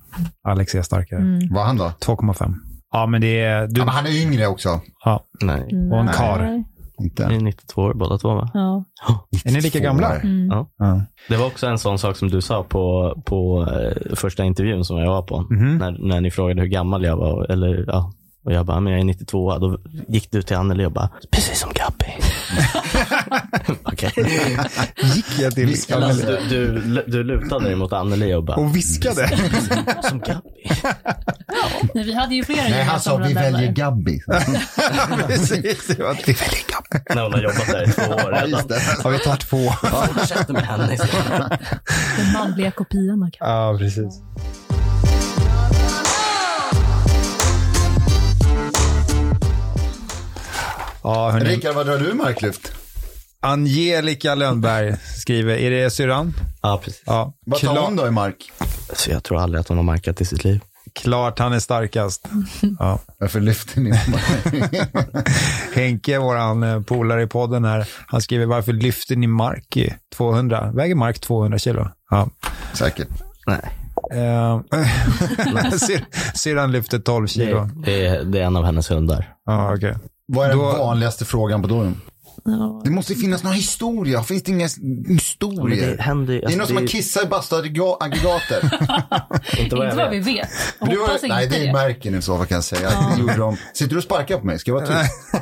Speaker 1: Alex är starkare.
Speaker 3: Mm.
Speaker 4: Vad han då?
Speaker 1: 2,5. Ja, men det är... Du,
Speaker 4: Ja, men han är yngre också.
Speaker 1: ja.
Speaker 2: Nej.
Speaker 1: Och en
Speaker 3: Nej.
Speaker 1: kar.
Speaker 2: Ni
Speaker 4: Inte.
Speaker 2: är 92 år båda två va?
Speaker 3: Mm. Ja.
Speaker 1: Är ni lika gamla?
Speaker 4: Två år.
Speaker 1: Ja.
Speaker 2: Det var också en sån sak som du sa på, på eh, första intervjun som jag var på. När, när ni frågade hur gammal jag var. Eller, ja. Och jag bara, men jag är 92. Då gick du till Anneli och bara, precis som Gabby. Okej.
Speaker 1: Gick jag till...
Speaker 4: Viskade.
Speaker 2: Alltså, du, du, du lutade dig mot Anneli och bara,
Speaker 1: Och viskade.
Speaker 2: som Gabby.
Speaker 3: Nej, vi hade ju flera
Speaker 4: Nej, han sa
Speaker 3: gemensamma
Speaker 4: vi
Speaker 3: nämnare.
Speaker 4: väljer Gabby.
Speaker 1: Precis. Det var till-
Speaker 2: När hon har jobbat där i två år
Speaker 4: Ja,
Speaker 2: redan.
Speaker 4: just det.
Speaker 1: Ja, vi tar två.
Speaker 2: Fortsätter med henne istället.
Speaker 3: Den manliga kopian av Gabby.
Speaker 1: Ja, precis. Ja, hörni.
Speaker 4: Rickard, vad drar du i marklyft?
Speaker 1: Angelica Lönnberg skriver, är det syrran?
Speaker 2: Ja, precis.
Speaker 1: Ja.
Speaker 4: Vad tar
Speaker 1: Kla-
Speaker 4: hon då i mark?
Speaker 2: Så jag tror aldrig att hon har markat i sitt liv.
Speaker 1: Klart han är starkast. Ja.
Speaker 4: Varför lyfter ni i mark?
Speaker 1: Henke, våran eh, polare i podden här, han skriver varför lyfter ni mark i 200? Väger mark 200 kilo? Ja.
Speaker 4: Säkert.
Speaker 2: Nej.
Speaker 1: Eh, syr- Eh, Syrran lyfter 12
Speaker 2: Det
Speaker 1: kilo.
Speaker 2: är, det, är, det är en av hennes hundar.
Speaker 1: Ja, okej.
Speaker 4: Vad är den
Speaker 1: Då-
Speaker 4: vanligaste frågan på Dorium?
Speaker 3: Ja.
Speaker 4: Det måste ju finnas någon historia. Finns det inga s- historier?
Speaker 2: Men det händer ju-
Speaker 4: är
Speaker 2: alltså,
Speaker 4: någon som
Speaker 2: det är
Speaker 4: har
Speaker 2: ju-
Speaker 4: kissat i bastuaggregater.
Speaker 2: Inte
Speaker 3: Inte vad
Speaker 2: jag
Speaker 3: vi vet.
Speaker 4: Du har-
Speaker 3: Hoppas
Speaker 4: nej,
Speaker 3: inte
Speaker 4: det är
Speaker 3: det.
Speaker 4: märken i så fall kan jag säga. Det gjorde de. Sitter du och sparkar på mig? Ska jag vara tyst?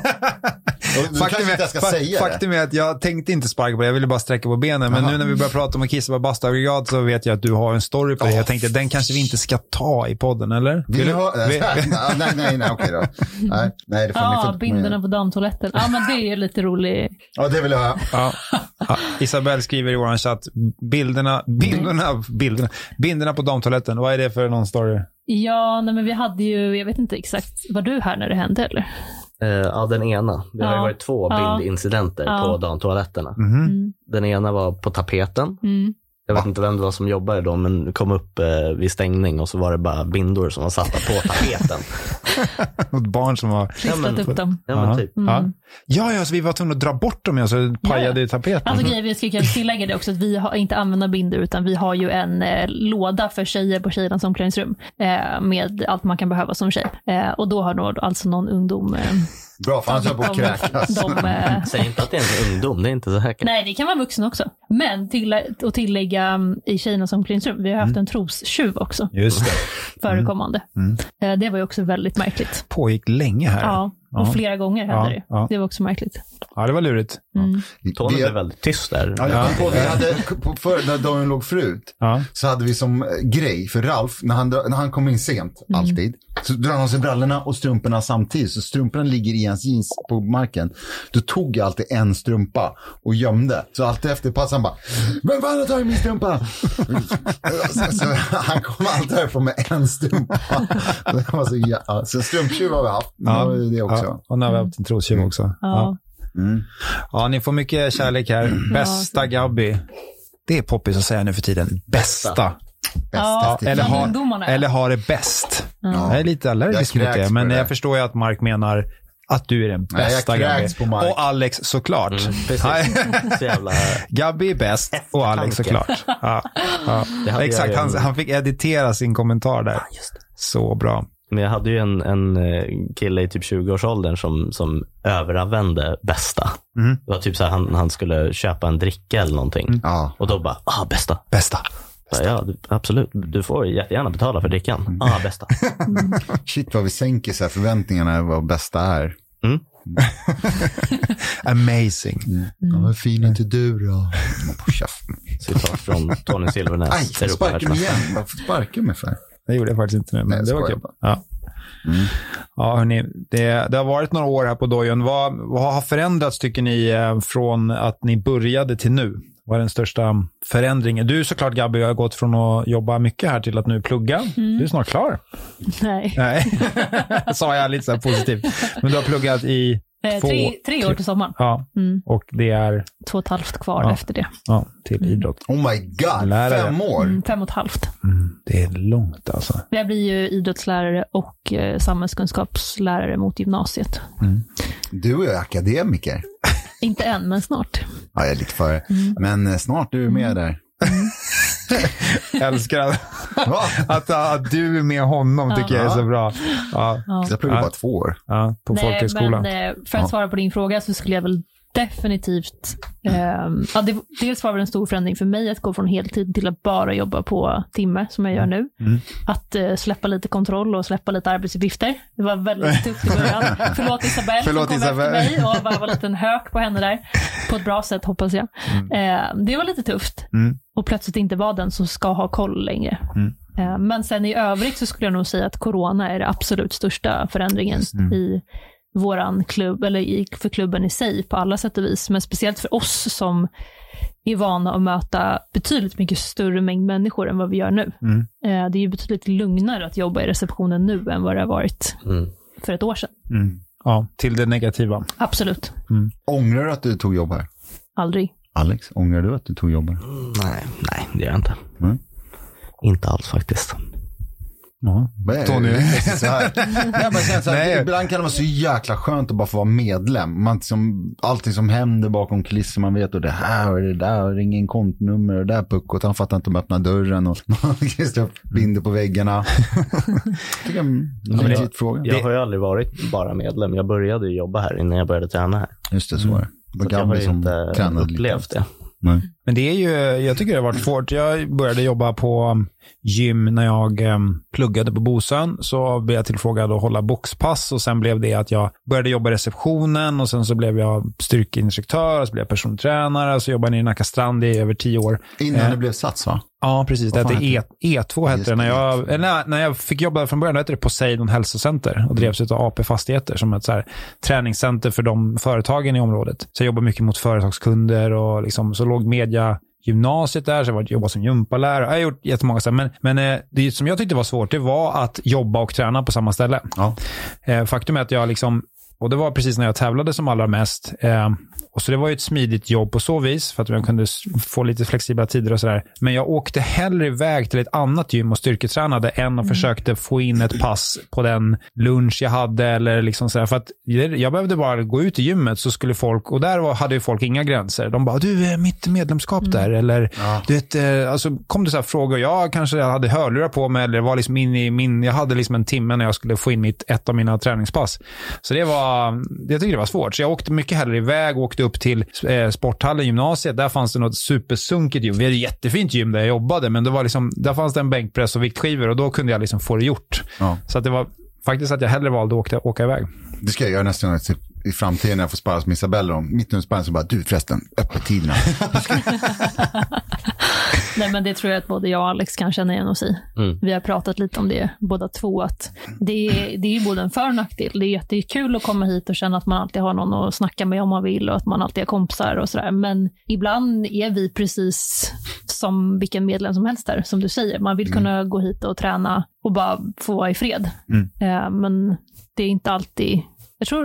Speaker 4: Du kanske inte ens ska
Speaker 1: fa-
Speaker 4: säga det.
Speaker 1: faktum är att jag tänkte inte sparka på det, jag ville bara sträcka på benen. Men nu när vi börjar prata om att kissa på bastuaggregat så vet jag att du har en story på det. Jag tänkte den kanske vi inte ska ta i podden, eller?
Speaker 4: Vill du ha...
Speaker 1: vi-
Speaker 4: nej, nej, nej, okej då. Nej, nej, det får ni
Speaker 2: Ah,
Speaker 3: Ja,
Speaker 4: får-
Speaker 3: bindorna på damtoaletten. Ja, men det är ju lite rolig.
Speaker 4: Ja, det vill jag höra.
Speaker 1: Ja. Ja. Isabel skriver i vår chatt, bilderna, bilderna, bilderna, bilderna på damtoaletten, vad är det för någon story?
Speaker 3: Ja, nej, men vi hade ju, jag vet inte exakt, var du här när det hände eller?
Speaker 2: Eh, Ja, den ena. Det har ju
Speaker 3: Ja.
Speaker 2: varit två
Speaker 3: Ja.
Speaker 2: bildincidenter
Speaker 3: Ja.
Speaker 2: på damtoaletterna.
Speaker 1: Mhm.
Speaker 3: Mm.
Speaker 2: Den ena var på tapeten.
Speaker 3: Mm.
Speaker 2: Jag
Speaker 1: Ah.
Speaker 2: vet inte vem det var som jobbade då, men det kom upp eh, vid stängning och så var det bara bindor som var satta på tapeten.
Speaker 1: Något barn som var...
Speaker 3: Klistrat upp dem.
Speaker 2: Ja, men
Speaker 1: Aha.
Speaker 2: typ.
Speaker 3: Mm.
Speaker 1: Ja. ja, ja, så vi var tvungna att dra bort dem, ja, så det pajade i tapeten.
Speaker 3: Alltså grejen, vi ska kanske tillägga det också, att vi har inte använder binder utan vi har ju en eh, låda för tjejer på tjejernas omklädningsrum eh, med allt man kan behöva som tjej. Eh, och då har då alltså någon ungdom eh,
Speaker 4: Bra, för annars höll jag på att
Speaker 3: de,
Speaker 4: kräkas.
Speaker 1: alltså.
Speaker 3: de, eh,
Speaker 2: Säg inte att det är en ungdom, det är inte säkert.
Speaker 3: Nej, det kan vara vuxen också. Men till, att tillägga mm, i tjejernas omklädningsrum, vi har
Speaker 1: Mm.
Speaker 3: haft en trostjuv också
Speaker 1: Just det.
Speaker 3: förekommande.
Speaker 1: Mm.
Speaker 3: Eh, Det var ju också väldigt märkligt.
Speaker 1: Pågick länge här.
Speaker 3: Ja, och
Speaker 1: Äh. Ja.
Speaker 3: flera gånger hände
Speaker 1: Ja,
Speaker 3: det.
Speaker 1: ja.
Speaker 3: Det var också märkligt. Mm,
Speaker 1: Ja, det var lurigt.
Speaker 2: Tony
Speaker 4: Vi-
Speaker 2: blev väldigt tyst där.
Speaker 4: Ja, jag kom på, vi hade, på, för, när Daniel låg förut,
Speaker 1: Ja.
Speaker 4: så hade vi som eh, grej för Ralf, när han, dra- när han kom in sent, alltid, så drar han sig brallorna och strumporna samtidigt. Så strumporna ligger i hans jeans på marken. Då tog jag alltid en strumpa och gömde. Så alltid efter pass han bara, vem fan har tagit min strumpa? så, så, han kom alltid härifrån med en strumpa. Det var så, ja, så strumptjuv har vi haft.
Speaker 1: Ja.
Speaker 4: Ja. Det också.
Speaker 1: Ja, och nu har vi haft en trotjuv också. Ja.
Speaker 3: Mm. Ja.
Speaker 1: ja, ni får mycket kärlek här. Bästa Gabby. Det är poppis att säga nu för tiden. Bästa.
Speaker 3: Ja,
Speaker 4: Bästa
Speaker 1: Eller
Speaker 3: bland
Speaker 1: ha,
Speaker 3: ungdomarna, ja.
Speaker 1: eller ha det bäst.
Speaker 4: Ja.
Speaker 1: Jag är lite allergisk
Speaker 4: Jag
Speaker 1: mot
Speaker 4: kräks
Speaker 1: det, men
Speaker 4: på det.
Speaker 1: jag förstår ju att Mark menar att du är den
Speaker 4: Nej, jag
Speaker 1: bästa
Speaker 4: kräks på Mark. Mm,
Speaker 1: Och Alex såklart.
Speaker 2: Precis.
Speaker 1: Nej,
Speaker 2: Så jävla...
Speaker 1: Gabby är bäst och Alex
Speaker 2: Eftertanke.
Speaker 1: såklart. Ja, ja.
Speaker 2: Det hade jag
Speaker 1: Exakt,
Speaker 2: ju
Speaker 1: han,
Speaker 2: en-
Speaker 1: han fick editera sin kommentar där. Så bra.
Speaker 2: Men jag hade ju en, en eh, kille i typ 20-årsåldern som, som överanvände bästa.
Speaker 1: Mm.
Speaker 2: Det var typ så här, han, han skulle köpa en dricka eller någonting.
Speaker 4: Ja.
Speaker 2: Och då bara, ah bästa.
Speaker 1: Bästa. Mm.
Speaker 2: Så, ja, du- absolut. Du får jättegärna betala för drickan. Ah bästa.
Speaker 4: Shit vad vi sänker så här förväntningarna vad bästa är.
Speaker 1: Amazing.
Speaker 4: Ja, men fin är inte du då? På käften.
Speaker 2: Citat från Tony
Speaker 4: Aj,
Speaker 2: Silvernäs.
Speaker 4: jag sparkar mig
Speaker 2: Europavärldsmästare.
Speaker 4: igen. Varför sparkar du mig för?
Speaker 1: Det gjorde jag faktiskt inte nu, men
Speaker 4: Nej, jag
Speaker 1: det var
Speaker 4: skojar
Speaker 1: kul.
Speaker 4: bara.
Speaker 1: Ja. Ja, hörni, det, det har varit några år här på Dojon. Vad, vad har förändrats, tycker ni, eh, från att ni började till nu? Vad är den största förändringen? Du såklart, Gabby, har gått från att jobba mycket här till att nu plugga.
Speaker 3: Mm.
Speaker 1: Du är snart klar.
Speaker 3: Nej.
Speaker 1: Nej, sa jag lite så här positivt. Men du har pluggat i
Speaker 3: Eh,
Speaker 1: två...
Speaker 3: Tre, tre år till sommaren.
Speaker 1: Ja,
Speaker 3: Mm.
Speaker 1: och det är
Speaker 3: Två och ett halvt kvar
Speaker 1: Ja.
Speaker 3: efter det.
Speaker 1: ja, till idrott.
Speaker 4: Oh my god,
Speaker 1: Lärare.
Speaker 4: fem år.
Speaker 3: Mm, fem och ett halvt.
Speaker 1: Det är långt alltså.
Speaker 3: Jag blir ju idrottslärare och eh, samhällskunskapslärare mot gymnasiet.
Speaker 4: Du och jag är akademiker.
Speaker 3: Inte än, men snart.
Speaker 4: Ja, jag är lite före. Men eh, snart är du med där.
Speaker 1: Jag älskar att,
Speaker 4: Va?
Speaker 1: att, att du är med honom, tycker jag är så bra. Ja,
Speaker 4: Jag pluggar
Speaker 1: Ja.
Speaker 4: bara två år.
Speaker 1: ja, på folkhögskolan.
Speaker 3: Men, eh, för att svara på din fråga så skulle jag väl definitivt... ehm, ja, det, dels var det en stor förändring för mig att gå från heltid till att bara jobba på timme, som jag gör nu. Att eh, släppa lite kontroll och släppa lite arbetsuppgifter. Det var väldigt tufft i början. Förlåt Isabelle
Speaker 1: Förlåt,
Speaker 3: som kom
Speaker 1: Isabelle.
Speaker 3: efter mig och bara var en liten hök på henne där. På ett bra sätt hoppas jag. Eh, det var lite tufft.
Speaker 1: Mm.
Speaker 3: Och plötsligt inte vara den som ska ha koll längre. Eh, Men sen i övrigt så skulle jag nog säga att corona är det absolut största förändringen
Speaker 1: Mm.
Speaker 3: i våran klubb, eller i, för klubben i sig på alla sätt och vis. Men speciellt för oss som är vana att möta betydligt mycket större mängd människor än vad vi gör nu.
Speaker 1: Mm.
Speaker 3: Eh, Det är ju betydligt lugnare att jobba i receptionen nu än vad det har varit
Speaker 2: Mm.
Speaker 3: för ett år sedan.
Speaker 1: Mm. Ja, till det negativa.
Speaker 3: Absolut.
Speaker 4: Ångrar du att du tog jobb här?
Speaker 3: Aldrig.
Speaker 4: Alex, ångrar du att du tog jobb här?
Speaker 2: Nej, nej, det gör jag inte.
Speaker 4: Mm.
Speaker 2: Inte alls faktiskt.
Speaker 1: Ja.
Speaker 4: Vad är det?
Speaker 1: Tony.
Speaker 4: Det är så här. Nej, men sen så här,
Speaker 1: Nej.
Speaker 4: Ibland kan det vara så jäkla skönt att bara få vara medlem. Man, som, allting som händer bakom kulisser, man vet och det här och det där, och ring in kontnummer och det där puckot, han fattar inte om att öppna dörren och man klistrar upp bilder på väggarna. Jag tycker det är en
Speaker 2: men
Speaker 4: legit
Speaker 2: jag-
Speaker 4: fråga.
Speaker 2: Jag har ju aldrig varit bara medlem. Jag började ju jobba här innan jag började träna här.
Speaker 4: Just det, så är det. Det
Speaker 2: Så
Speaker 4: var
Speaker 2: att jag har
Speaker 4: Gabby
Speaker 2: ju
Speaker 4: som
Speaker 2: inte
Speaker 4: tränade lite.
Speaker 2: upplevt det.
Speaker 4: Nej.
Speaker 1: Men det är ju, jag tycker det har varit svårt. Jag började jobba på um, gym när jag um, pluggade på Bosön. Så blev jag tillfrågad att hålla boxpass och sen blev det att jag började jobba i receptionen och sen så blev jag styrkeinstruktör och så blev jag persontränare och så jobbade jag i Nacka strand i över tio år.
Speaker 4: Innan
Speaker 1: Eh.
Speaker 4: det blev Sats va?
Speaker 1: Ja, precis. Det
Speaker 4: Vad
Speaker 1: hette
Speaker 4: fan
Speaker 1: e, E2 hette
Speaker 4: Just
Speaker 1: det. När
Speaker 4: det, E
Speaker 1: jag,
Speaker 4: E2.
Speaker 1: eller när, när jag fick jobba från början då hette det Poseidon hälsocenter och drevs
Speaker 4: Mm.
Speaker 1: av AP Fastigheter som ett så här, träningscenter för de företagen i området. Så jag jobbade mycket mot företagskunder och liksom, så låg media gymnasiet där, så jag var- jobbade som gympalärare. Jag har gjort jättemånga saker. Men, men eh, det som jag tyckte var svårt, det var att jobba och träna på samma ställe.
Speaker 4: Ja.
Speaker 1: Eh, faktum är att jag liksom, och det var precis när jag tävlade som allra mest. Eh, och så det var ju ett smidigt jobb på så vis, för att jag kunde s- få lite flexibla tider och sådär. Men jag åkte hellre iväg till ett annat gym och styrketränade än och försökte få in ett pass på den lunch jag hade eller liksom sådär. För att det- jag behövde bara gå ut i gymmet så skulle folk, och där var, hade ju folk inga gränser. De bara, du, eh, mitt medlemskap där, eller
Speaker 4: Ja.
Speaker 1: du vet, eh, alltså kom det så här frågor. Jag kanske hade hörlurar på mig eller var liksom in i min, jag hade liksom en timme när jag skulle få in mitt, ett av mina träningspass. Så det var, jag tyckte det var svårt. Så jag åkte mycket hellre iväg och åkte upp till eh, sporthallen, gymnasiet. Där fanns det något supersunkigt gym. Vi hade ett jättefint gym där jag jobbade, men det var liksom, där fanns det en bänkpress och viktskivor och då kunde jag liksom få det gjort.
Speaker 4: Ja.
Speaker 1: Så att det var faktiskt att jag hellre valde att åka, åka iväg.
Speaker 4: Det ska jag göra nästa gång typ, i framtiden när jag får sparras med Isabella om mitt under sparring så bara, du förresten, öppettiderna.
Speaker 3: Nej, men det tror jag att både jag och Alex kan känna igen oss i.
Speaker 2: Mm.
Speaker 3: Vi har pratat lite om det båda två. Att det, är, det är ju både en för och nackdel. Det är jättekul att komma hit och känna att man alltid har någon att snacka med om man vill och att man alltid har kompisar och sådär. Men ibland är vi precis som vilken medlem som helst där, som du säger. Man vill kunna gå hit och träna och bara få vara i fred.
Speaker 1: Mm.
Speaker 3: Eh, Men det är inte alltid... Jag tror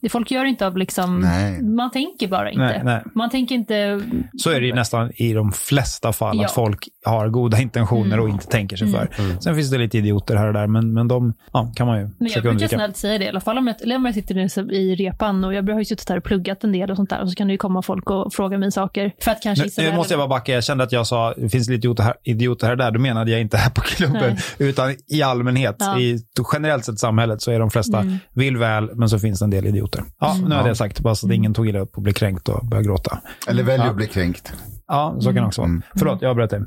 Speaker 3: det. Folk gör inte av liksom...
Speaker 4: Nej.
Speaker 3: Man tänker bara inte.
Speaker 1: Nej, nej.
Speaker 3: Man tänker inte
Speaker 1: Så är det ju nästan i de flesta fall,
Speaker 3: Ja.
Speaker 1: att folk har goda intentioner
Speaker 3: Mm.
Speaker 1: och inte tänker sig för. Sen finns det lite idioter här och där, men, men de ja, kan man ju
Speaker 3: Men jag
Speaker 1: försöka
Speaker 3: brukar
Speaker 1: undvika.
Speaker 3: snällt säga det, i alla fall om jag, eller om jag sitter i- i repan och jag har ju suttit här och pluggat en del och sånt där och så kan det ju komma folk och fråga mig saker. För att kanske
Speaker 1: Nu,
Speaker 3: Isabella-
Speaker 1: nu måste jag bara backa. Jag kände att jag sa det finns lite idioter här, idioter här och där. Då menade jag inte här på klubben, utan i allmänhet.
Speaker 3: Ja. Mm.
Speaker 1: I generellt sett samhället så är de flesta vill väl, men så finns det en del idioter. Ja, nu har jag det sagt, bara så att
Speaker 3: Mm.
Speaker 1: ingen tog illa upp och blev kränkt och började gråta.
Speaker 4: Eller väljer att bli kränkt.
Speaker 1: Ja, så kan
Speaker 3: Mm.
Speaker 1: det också vara. Förlåt, jag avbröt dig.
Speaker 3: Eh,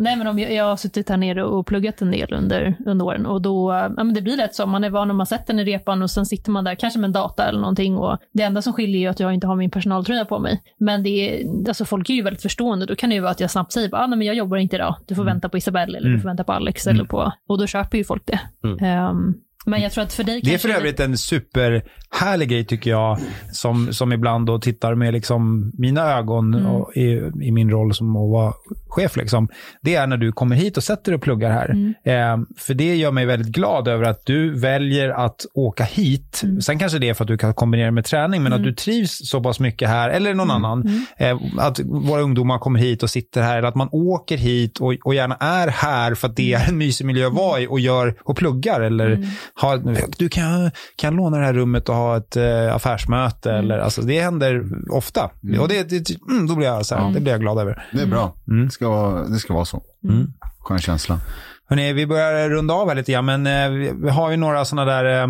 Speaker 3: nej, men om jag, jag har suttit här nere och pluggat en del under, under åren och då, eh, ja, men det blir lätt så. Man är van om man sett den i repan och sen sitter man där kanske med en data eller någonting och det enda som skiljer är ju att jag inte har min personaltröja på mig. Men det är, alltså folk är ju väldigt förstående. Då kan det ju vara att jag snabbt säger, ah, nej, men jag jobbar inte idag. Du
Speaker 1: Mm.
Speaker 3: får vänta på Isabelle eller du får vänta på Alex eller på, och då köper ju folk det. Ehm, men jag tror att för dig
Speaker 1: Mm. Det är
Speaker 3: kanske
Speaker 1: för övrigt en superhärlig grej tycker jag, som, som ibland då tittar med liksom mina ögon och, i, i min roll som att vara chef. Liksom. Det är när du kommer hit och sätter dig och pluggar här. Eh, för det gör mig väldigt glad över att du väljer att åka hit. Sen kanske det är för att du kan kombinera med träning, men att du trivs så pass mycket här, eller någon annan. Eh, att våra ungdomar kommer hit och sitter här, eller att man åker hit och, och gärna är här för att det är en mysig miljö att vara i och, gör, och pluggar. Eller ha, du kan, kan låna det här rummet och ha ett eh, affärsmöte. Eller, alltså, det händer ofta. Och det, det, mm, då blir jag, så här, det blir jag glad över.
Speaker 4: Det är bra. Det, ska vara, det ska vara så.
Speaker 1: Mm.
Speaker 4: Skön känsla.
Speaker 1: Hörrni, vi börjar runda av här lite grann, men eh, vi- vi har ju några sådana där, eh,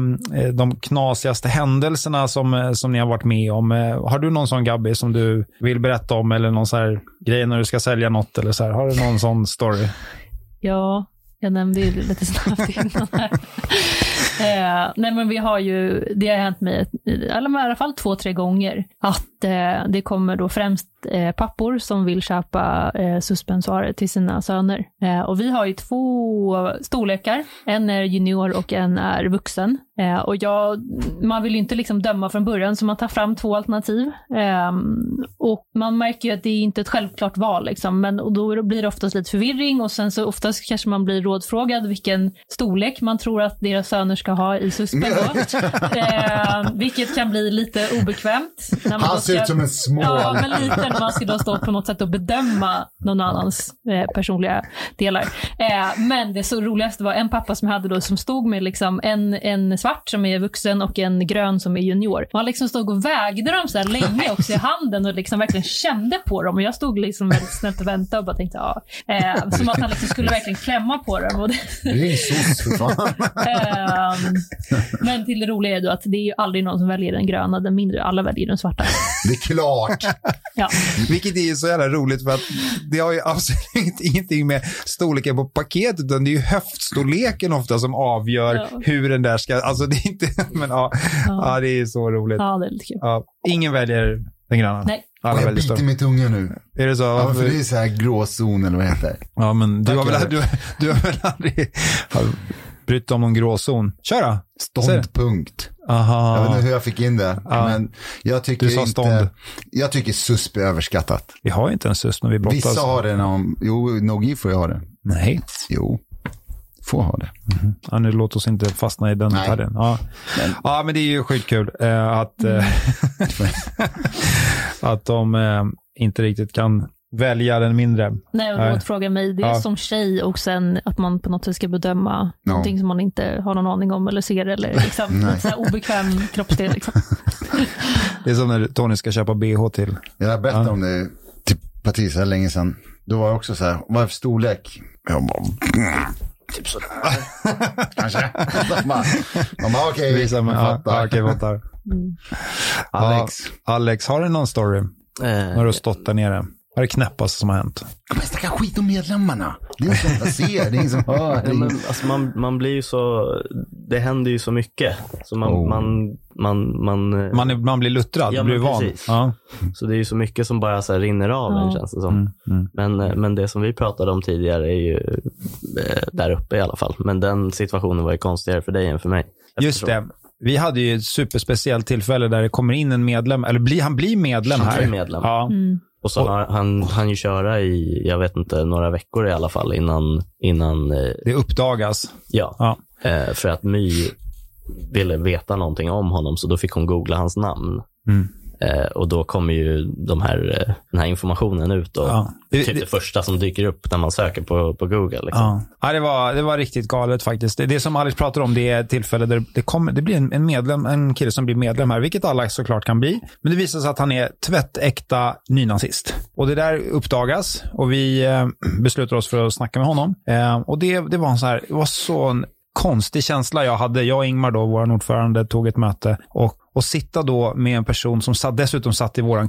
Speaker 1: de knasigaste händelserna som, eh, som ni har varit med om. Eh, Har du någon sån Gabby som du vill berätta om eller någon sån här grej när du ska sälja något eller så här? Har du någon sån story?
Speaker 3: Ja, jag nämnde ju det lite snabbt innan här. eh, nej men vi har ju, det har hänt mig ett- eller i alla fall två, tre gånger att eh, det kommer då främst eh, pappor som vill köpa eh, suspensoarer till sina söner. Eh, och vi har ju två storlekar, en är junior och en är vuxen. Eh, och jag, man vill ju inte liksom döma från början så man tar fram två alternativ. Ehm, och man märker ju att det är inte ett självklart val, liksom, men och då blir det oftast lite förvirring och sen så oftast kanske man blir rådfrågad vilken storlek man tror att deras söner ska ha i suspen då. eh, vilket kan bli lite obekvämt. När man då
Speaker 4: Han
Speaker 3: ska-
Speaker 4: ser ut som en smål.
Speaker 3: Ja, men lite när man ska då stå på något sätt och bedöma någon annans eh, personliga delar. Eh, men det så roligaste var en pappa som jag hade då som stod med liksom en, en svart som är vuxen och en grön som är junior. Och han liksom stod och vägde dem så här länge också i handen och liksom verkligen kände på dem. Och jag stod liksom väldigt snällt och väntade och bara tänkte ja. Eh, som att han liksom skulle verkligen klämma på dem. Och det,
Speaker 4: Risos för fan.
Speaker 3: ehm, men till det roliga är då att det är ju aldrig någon som väljer den gröna, den mindre. Alla väljer den svarta.
Speaker 4: Det är klart.
Speaker 3: Ja.
Speaker 1: Vilket är ju så jävla roligt för att det har ju absolut ingenting med storleken på paketet utan det är ju höftstorleken ofta som avgör
Speaker 3: Ja.
Speaker 1: hur den där ska... Alltså det är inte... Men ja, ja.
Speaker 3: Ja.
Speaker 1: det är så roligt. Ja.
Speaker 3: ja, det är lite kul.
Speaker 1: Ingen väljer den gröna.
Speaker 3: Nej.
Speaker 1: Alla
Speaker 4: jag
Speaker 1: väljer stor.
Speaker 4: biter min tunga nu.
Speaker 1: Är det så?
Speaker 4: Ja, men för det är så här gråzon eller vad det heter.
Speaker 1: Ja, men du har, väl,
Speaker 4: Tackar.
Speaker 1: du, du har väl aldrig har brytt dig om någon gråzon? Kör då!
Speaker 4: Ståndpunkt.
Speaker 1: Aha.
Speaker 4: Jag vet inte hur jag fick in det.
Speaker 1: Ja.
Speaker 4: Men jag tycker
Speaker 1: Du sa stånd.
Speaker 4: inte... Jag tycker susp är överskattat.
Speaker 1: Vi har ju inte en susp när vi brottas.
Speaker 4: Vissa har det. Någon, jo, Nogi får jag ha det.
Speaker 1: Nej,
Speaker 4: Jo, får ha det.
Speaker 1: ja, nu låt oss inte fastna i den
Speaker 4: Nej.
Speaker 1: detaljen. Ja. ja, men det är ju skitkul eh, att, eh, att de eh, inte riktigt kan välja den mindre.
Speaker 3: Nej, och
Speaker 1: Nej.
Speaker 3: Robert frågar mig. Det är
Speaker 1: Ja.
Speaker 3: som tjej och sen att man på något sätt ska bedöma
Speaker 4: Ja.
Speaker 3: någonting som man inte har någon aning om eller ser eller liksom, något så här obekväm kroppsdel. Liksom.
Speaker 1: Det är som när Tony ska köpa bh till.
Speaker 4: Jag berättade om det till Patrice här länge sedan. Då var jag också så här, vad är för storlek? Jag bara, typ sådär. Kanske. De bara, de bara okej, vi
Speaker 1: Visa mig. Ja, ja,
Speaker 4: fattar.
Speaker 1: okej, fattar.
Speaker 4: Alex.
Speaker 1: Ja, Alex, har du någon story?
Speaker 2: Eh,
Speaker 1: När du har stått där nere? Vad är det knäppaste som har hänt?
Speaker 4: Ja, Men snacka skit om medlemmarna. Det är ingen som ser, det är ingen som hör. Det
Speaker 2: Ja,
Speaker 4: är
Speaker 2: men,
Speaker 4: ingen...
Speaker 2: alltså man, man blir ju så, det händer ju så mycket. Så man,
Speaker 4: Oh.
Speaker 2: man, man, man, eh,
Speaker 1: Man, är, man blir luttrad,
Speaker 2: Ja,
Speaker 1: du blir
Speaker 2: men
Speaker 1: van.
Speaker 2: precis.
Speaker 1: Ja.
Speaker 2: så det är ju så mycket som bara så här rinner av en
Speaker 3: Ja.
Speaker 2: känns det som.
Speaker 1: Mm, mm.
Speaker 2: Men, eh, men det som vi pratade om tidigare är ju eh, där uppe i alla fall. Men den situationen var ju konstigare för dig än för mig.
Speaker 1: Just det. Vi hade ju ett superspeciellt tillfälle där det kommer in en medlem, eller blir, han blir medlem
Speaker 2: Han
Speaker 1: här.
Speaker 2: blir medlem.
Speaker 1: Ja.
Speaker 3: Mm.
Speaker 2: Och så har han, han ju köra i, jag vet inte, några veckor i alla fall innan, innan eh,
Speaker 1: Det uppdagas.
Speaker 2: ja.
Speaker 1: Ja.
Speaker 2: Eh, för att My ville veta någonting om honom, så då fick hon googla hans namn.
Speaker 1: Mm.
Speaker 2: Eh, och då kommer ju de här, eh, den här informationen ut. Och
Speaker 1: Ja. Det,
Speaker 2: Typ det
Speaker 1: det,
Speaker 2: första som dyker upp när man söker på, på Google. Liksom.
Speaker 1: ja. Ja, det, var, det var riktigt galet faktiskt. Det, det som Alex pratar om, det är ett tillfälle där det, kommer, det blir en, en, medlem, en kille som blir medlem här, vilket alla såklart kan bli. Men det visar sig att han är tvättäkta nynazist. Och det där uppdagas och vi eh, beslutar oss för att snacka med honom. Eh, och det, det var en så här, det var så en konstig känsla jag hade. Jag och Ingmar, då, vår ordförande, tog ett möte och och sitta då med en person som satt, dessutom satt i våran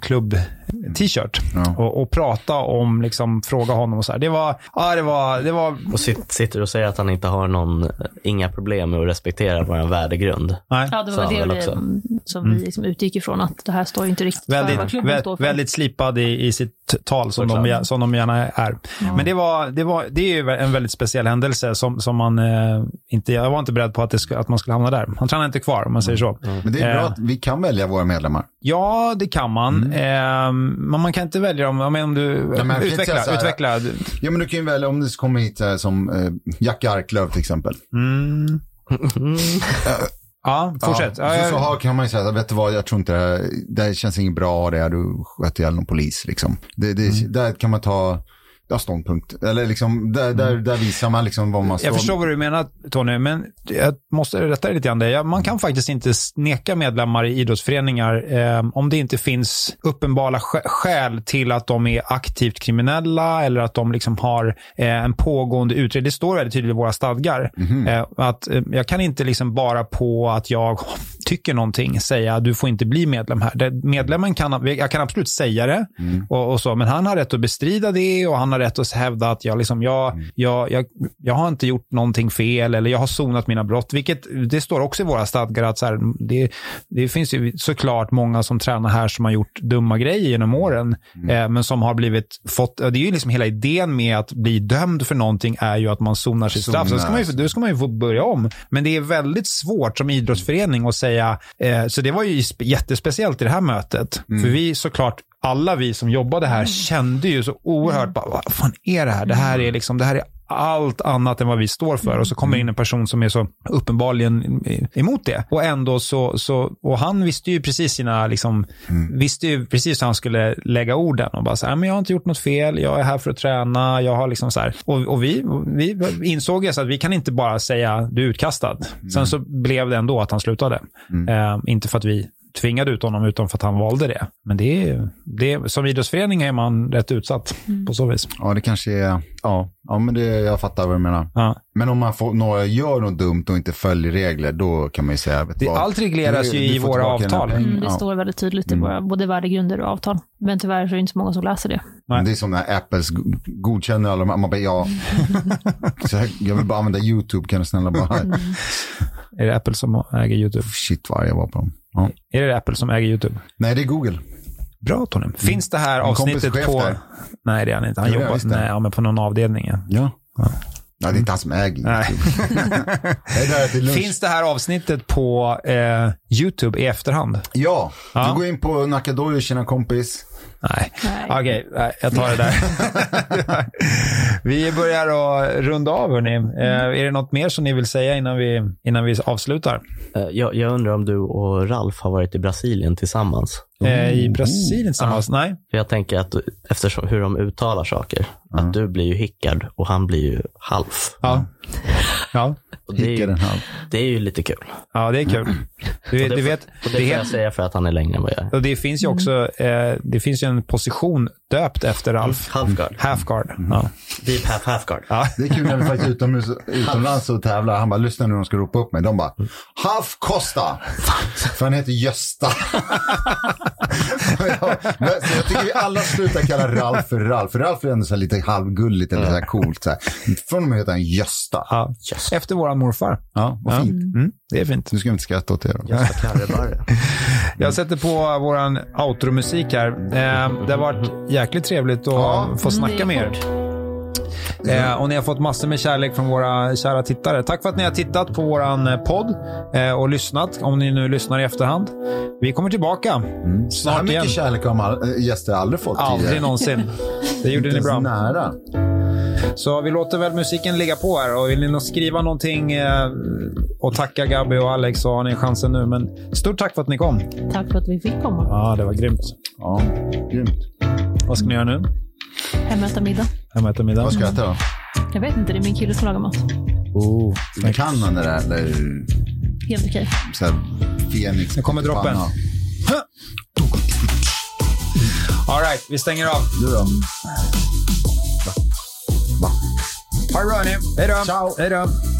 Speaker 1: klubb-t-shirt
Speaker 4: Ja.
Speaker 1: och, och prata om, liksom, fråga honom och så här. Det var, ja, det var, det var,
Speaker 2: Och sit, sitter och säger att han inte har någon, eh, inga problem med att respektera vår värdegrund.
Speaker 1: nej,
Speaker 3: Ja, det
Speaker 2: Sa
Speaker 3: var
Speaker 2: han
Speaker 3: det
Speaker 2: väl
Speaker 3: vi,
Speaker 2: också.
Speaker 3: som vi liksom utgick ifrån, att det här står ju inte riktigt för vad
Speaker 1: Mm. väldigt,
Speaker 3: klubben står
Speaker 1: vä-
Speaker 3: för.
Speaker 1: väldigt slipad i, i sitt tal som de,
Speaker 2: Såklart.
Speaker 1: gär- som de gärna är. Men det, var, det, var, det är ju en väldigt speciell händelse som, som man eh, inte, jag var inte beredd på att, det skulle, att man skulle hamna där. Han tränar inte kvar om man säger så.
Speaker 4: Mm. Men det är bra
Speaker 1: Eh.
Speaker 4: att vi kan välja våra medlemmar.
Speaker 1: Ja, det kan man. Ehm, men man kan inte välja om, om, om du,
Speaker 4: men jag kan inte
Speaker 1: utveckla,
Speaker 4: säga så här-
Speaker 1: utveckla.
Speaker 4: Ja, men du kan ju välja om det kommer hit eh, som eh, Jack Arklöv till exempel.
Speaker 1: Mm.
Speaker 2: Mm.
Speaker 1: Ja, fortsätt.
Speaker 4: Ja,
Speaker 1: Ja,
Speaker 4: så, så har, kan man ju säga, vet du vad, jag tror inte det här, det här känns inget bra det här, du sköt ihjäl någon polis liksom. Det, det,
Speaker 1: Mm.
Speaker 4: Där kan man ta ja, ståndpunkt. Eller liksom, där, där, där visar man liksom vad man står.
Speaker 1: Mm. Jag förstår vad du menar Tony, men jag måste rätta dig lite grann. där. Ja, Man kan faktiskt inte s- neka medlemmar i idrottsföreningar eh, om det inte finns uppenbara skä- skäl till att de är aktivt kriminella eller att de liksom har eh, en pågående utredning. Det står väldigt tydligt i våra stadgar.
Speaker 4: Mhm.
Speaker 1: Eh, att, eh, jag kan inte liksom bara på att jag tycker någonting säga du får inte bli medlem här. Det, medlemmen kan, jag kan absolut säga det, och, och så, men han har rätt att bestrida det och han har rätt att hävda att jag, liksom, jag, jag, jag, jag har inte gjort någonting fel eller jag har sonat mina brott, vilket det står också i våra stadgar att så här, det, det finns ju såklart många som tränar här som har gjort dumma grejer genom åren, eh, men som har blivit fått, och det är ju liksom hela idén med att bli dömd för någonting är ju att man sonar sitt straff. Så
Speaker 4: Sonar,
Speaker 1: ska man ju, då ska man ju få börja om. Men det är väldigt svårt som idrottsförening att säga, eh, så det var ju sp- jättespeciellt i det här mötet, för vi såklart alla vi som jobbade här kände ju så oerhört, bara, vad fan är det här? Det här är, liksom, det här är allt annat än vad vi står för. Och så kommer in en person som är så uppenbarligen emot det. Och ändå så, så och han visste ju precis sina, liksom,
Speaker 4: Mm.
Speaker 1: visste ju precis hur han skulle lägga orden. Och bara så här, men jag har inte gjort något fel, jag är här för att träna, jag har liksom så här. Och, och vi, vi insåg ju så att vi kan inte bara säga du är utkastad.
Speaker 4: Mm.
Speaker 1: Sen så blev det ändå att han slutade. Eh, inte för att vi tvingade ut honom utan för att han valde det. Men det är, det är, som idrottsförening är man rätt utsatt på så vis.
Speaker 4: Ja, det kanske är... Ja, ja men det, jag fattar vad du menar.
Speaker 1: Ja.
Speaker 4: Men om man får, några gör något dumt och inte följer regler, då kan man ju säga... vet du
Speaker 1: Det,
Speaker 4: vad?
Speaker 1: allt regleras
Speaker 4: Du-
Speaker 1: ju
Speaker 4: du
Speaker 1: i
Speaker 4: får
Speaker 1: våra
Speaker 4: tillbaka dina
Speaker 1: avtal.
Speaker 4: pengar.
Speaker 3: Mm, det
Speaker 4: Ja.
Speaker 3: står väldigt tydligt i våra både värdegrunder och avtal. Men tyvärr så är det inte så många som läser det.
Speaker 1: Nej.
Speaker 4: Det är som när Apples go- godkänner alla de här. Man bara, ja. Så här, jag vill bara använda YouTube, kan du snälla bara...
Speaker 1: Är det Apple som äger YouTube?
Speaker 4: Shit vad arg jag var på dem. Ja.
Speaker 1: Är det Apple som äger YouTube?
Speaker 4: Nej, det är Google.
Speaker 1: Bra Tony. Finns det här
Speaker 4: kompis
Speaker 1: avsnittet
Speaker 4: chef
Speaker 1: på...
Speaker 4: där.
Speaker 1: Nej, det är han inte. Han
Speaker 4: Jo,
Speaker 1: jobbar
Speaker 4: visst är
Speaker 1: nej,
Speaker 4: han.
Speaker 1: ja, men på någon avdelning. Ja.
Speaker 4: Ja. Ja, det är inte han som äger YouTube.
Speaker 1: Nej.
Speaker 4: Det är där till lunch.
Speaker 1: Finns det här avsnittet på eh, YouTube i efterhand?
Speaker 4: Ja,
Speaker 1: Ja.
Speaker 4: du går in på Nakadoyo, tjena kompis.
Speaker 1: Nej.
Speaker 3: Nej.
Speaker 1: Okej, nej, jag tar det där. vi börjar att runda av, hörni. Eh, är det något mer som ni vill säga innan vi, innan vi avslutar?
Speaker 2: Eh, Jag, jag undrar om du och Ralf har varit i Brasilien tillsammans?
Speaker 1: Eh, I Brasilien tillsammans? Nej.
Speaker 2: För jag tänker att eftersom hur de uttalar saker, att du blir ju Hickard och han blir ju Half.
Speaker 1: Ja. ja.
Speaker 2: Och det, är
Speaker 4: Hickar
Speaker 2: ju,
Speaker 4: den här.
Speaker 2: det är ju lite kul.
Speaker 1: Ja, det är kul. Du,
Speaker 2: Och det,
Speaker 1: du vet,
Speaker 2: och
Speaker 1: det,
Speaker 2: det, kan
Speaker 1: heter,
Speaker 2: jag säga för att han är längre än vad jag är.
Speaker 1: och det finns ju också eh, det finns ju en position döpt efter Ralf.
Speaker 2: Halfguard.
Speaker 1: Halfguard.
Speaker 4: Mhm.
Speaker 1: Ja.
Speaker 2: Deep half halfguard.
Speaker 4: Det är kul när vi faktiskt är utomhus, utomlands och tävlar. Han bara, lyssna nu de ska ropa upp mig. De bara, Half Costa. För han heter Gösta. Och jag, men- så jag tycker vi alla slutar kalla Ralf för Ralf. För Ralf är ändå så här lite halvgulligt eller så här coolt. Så här. Från och med heter han Gösta.
Speaker 1: Ja. Efter våran morfar.
Speaker 4: Ja, vad
Speaker 1: Ja.
Speaker 4: fint.
Speaker 1: Mm, det är fint.
Speaker 4: Nu ska vi inte skratta åt det då.
Speaker 2: Gösta Karrebarre.
Speaker 1: Jag sätter på våran outro-musik här. Eh, det har varit jäkligt trevligt att
Speaker 4: Ja.
Speaker 1: få snacka med
Speaker 3: Mm, det är
Speaker 1: er. Eh, och ni har fått massor med kärlek från våra kära tittare. Tack för att ni har tittat på våran eh, podd eh, och lyssnat, om ni nu lyssnar i efterhand. Vi kommer tillbaka
Speaker 4: Så Mm. här
Speaker 1: snart igen.
Speaker 4: mycket kärlek har man- äh, gäster har aldrig fått
Speaker 1: Aldrig
Speaker 4: tidigare.
Speaker 1: någonsin. Det gjorde
Speaker 4: Inte
Speaker 1: ni
Speaker 4: ens
Speaker 1: bra.
Speaker 4: nära.
Speaker 1: Så vi låter väl musiken ligga på här. Och vill ni nå- skriva någonting eh, och tacka Gabby och Alex så har ni chansen nu. Men stort tack för att ni kom.
Speaker 3: Tack för att vi fick komma.
Speaker 1: Ja, det var grymt.
Speaker 4: Ja, grymt.
Speaker 1: Vad ska ni göra nu?
Speaker 3: Hem och äta middag.
Speaker 1: Hem och äta middag?
Speaker 4: Vad ska jag äta då?
Speaker 3: Jag vet inte, det är min kille som lagar mat.
Speaker 1: Oh.
Speaker 4: Kan han det där? Eller
Speaker 3: Helt okej.
Speaker 4: så här, Fenix?
Speaker 1: Nu kommer droppen.
Speaker 4: Panna.
Speaker 1: All right, vi stänger av.
Speaker 4: Du då? Va? Va?
Speaker 1: Ha det bra, hörni. Hej då.
Speaker 4: Ciao.
Speaker 1: Hej då.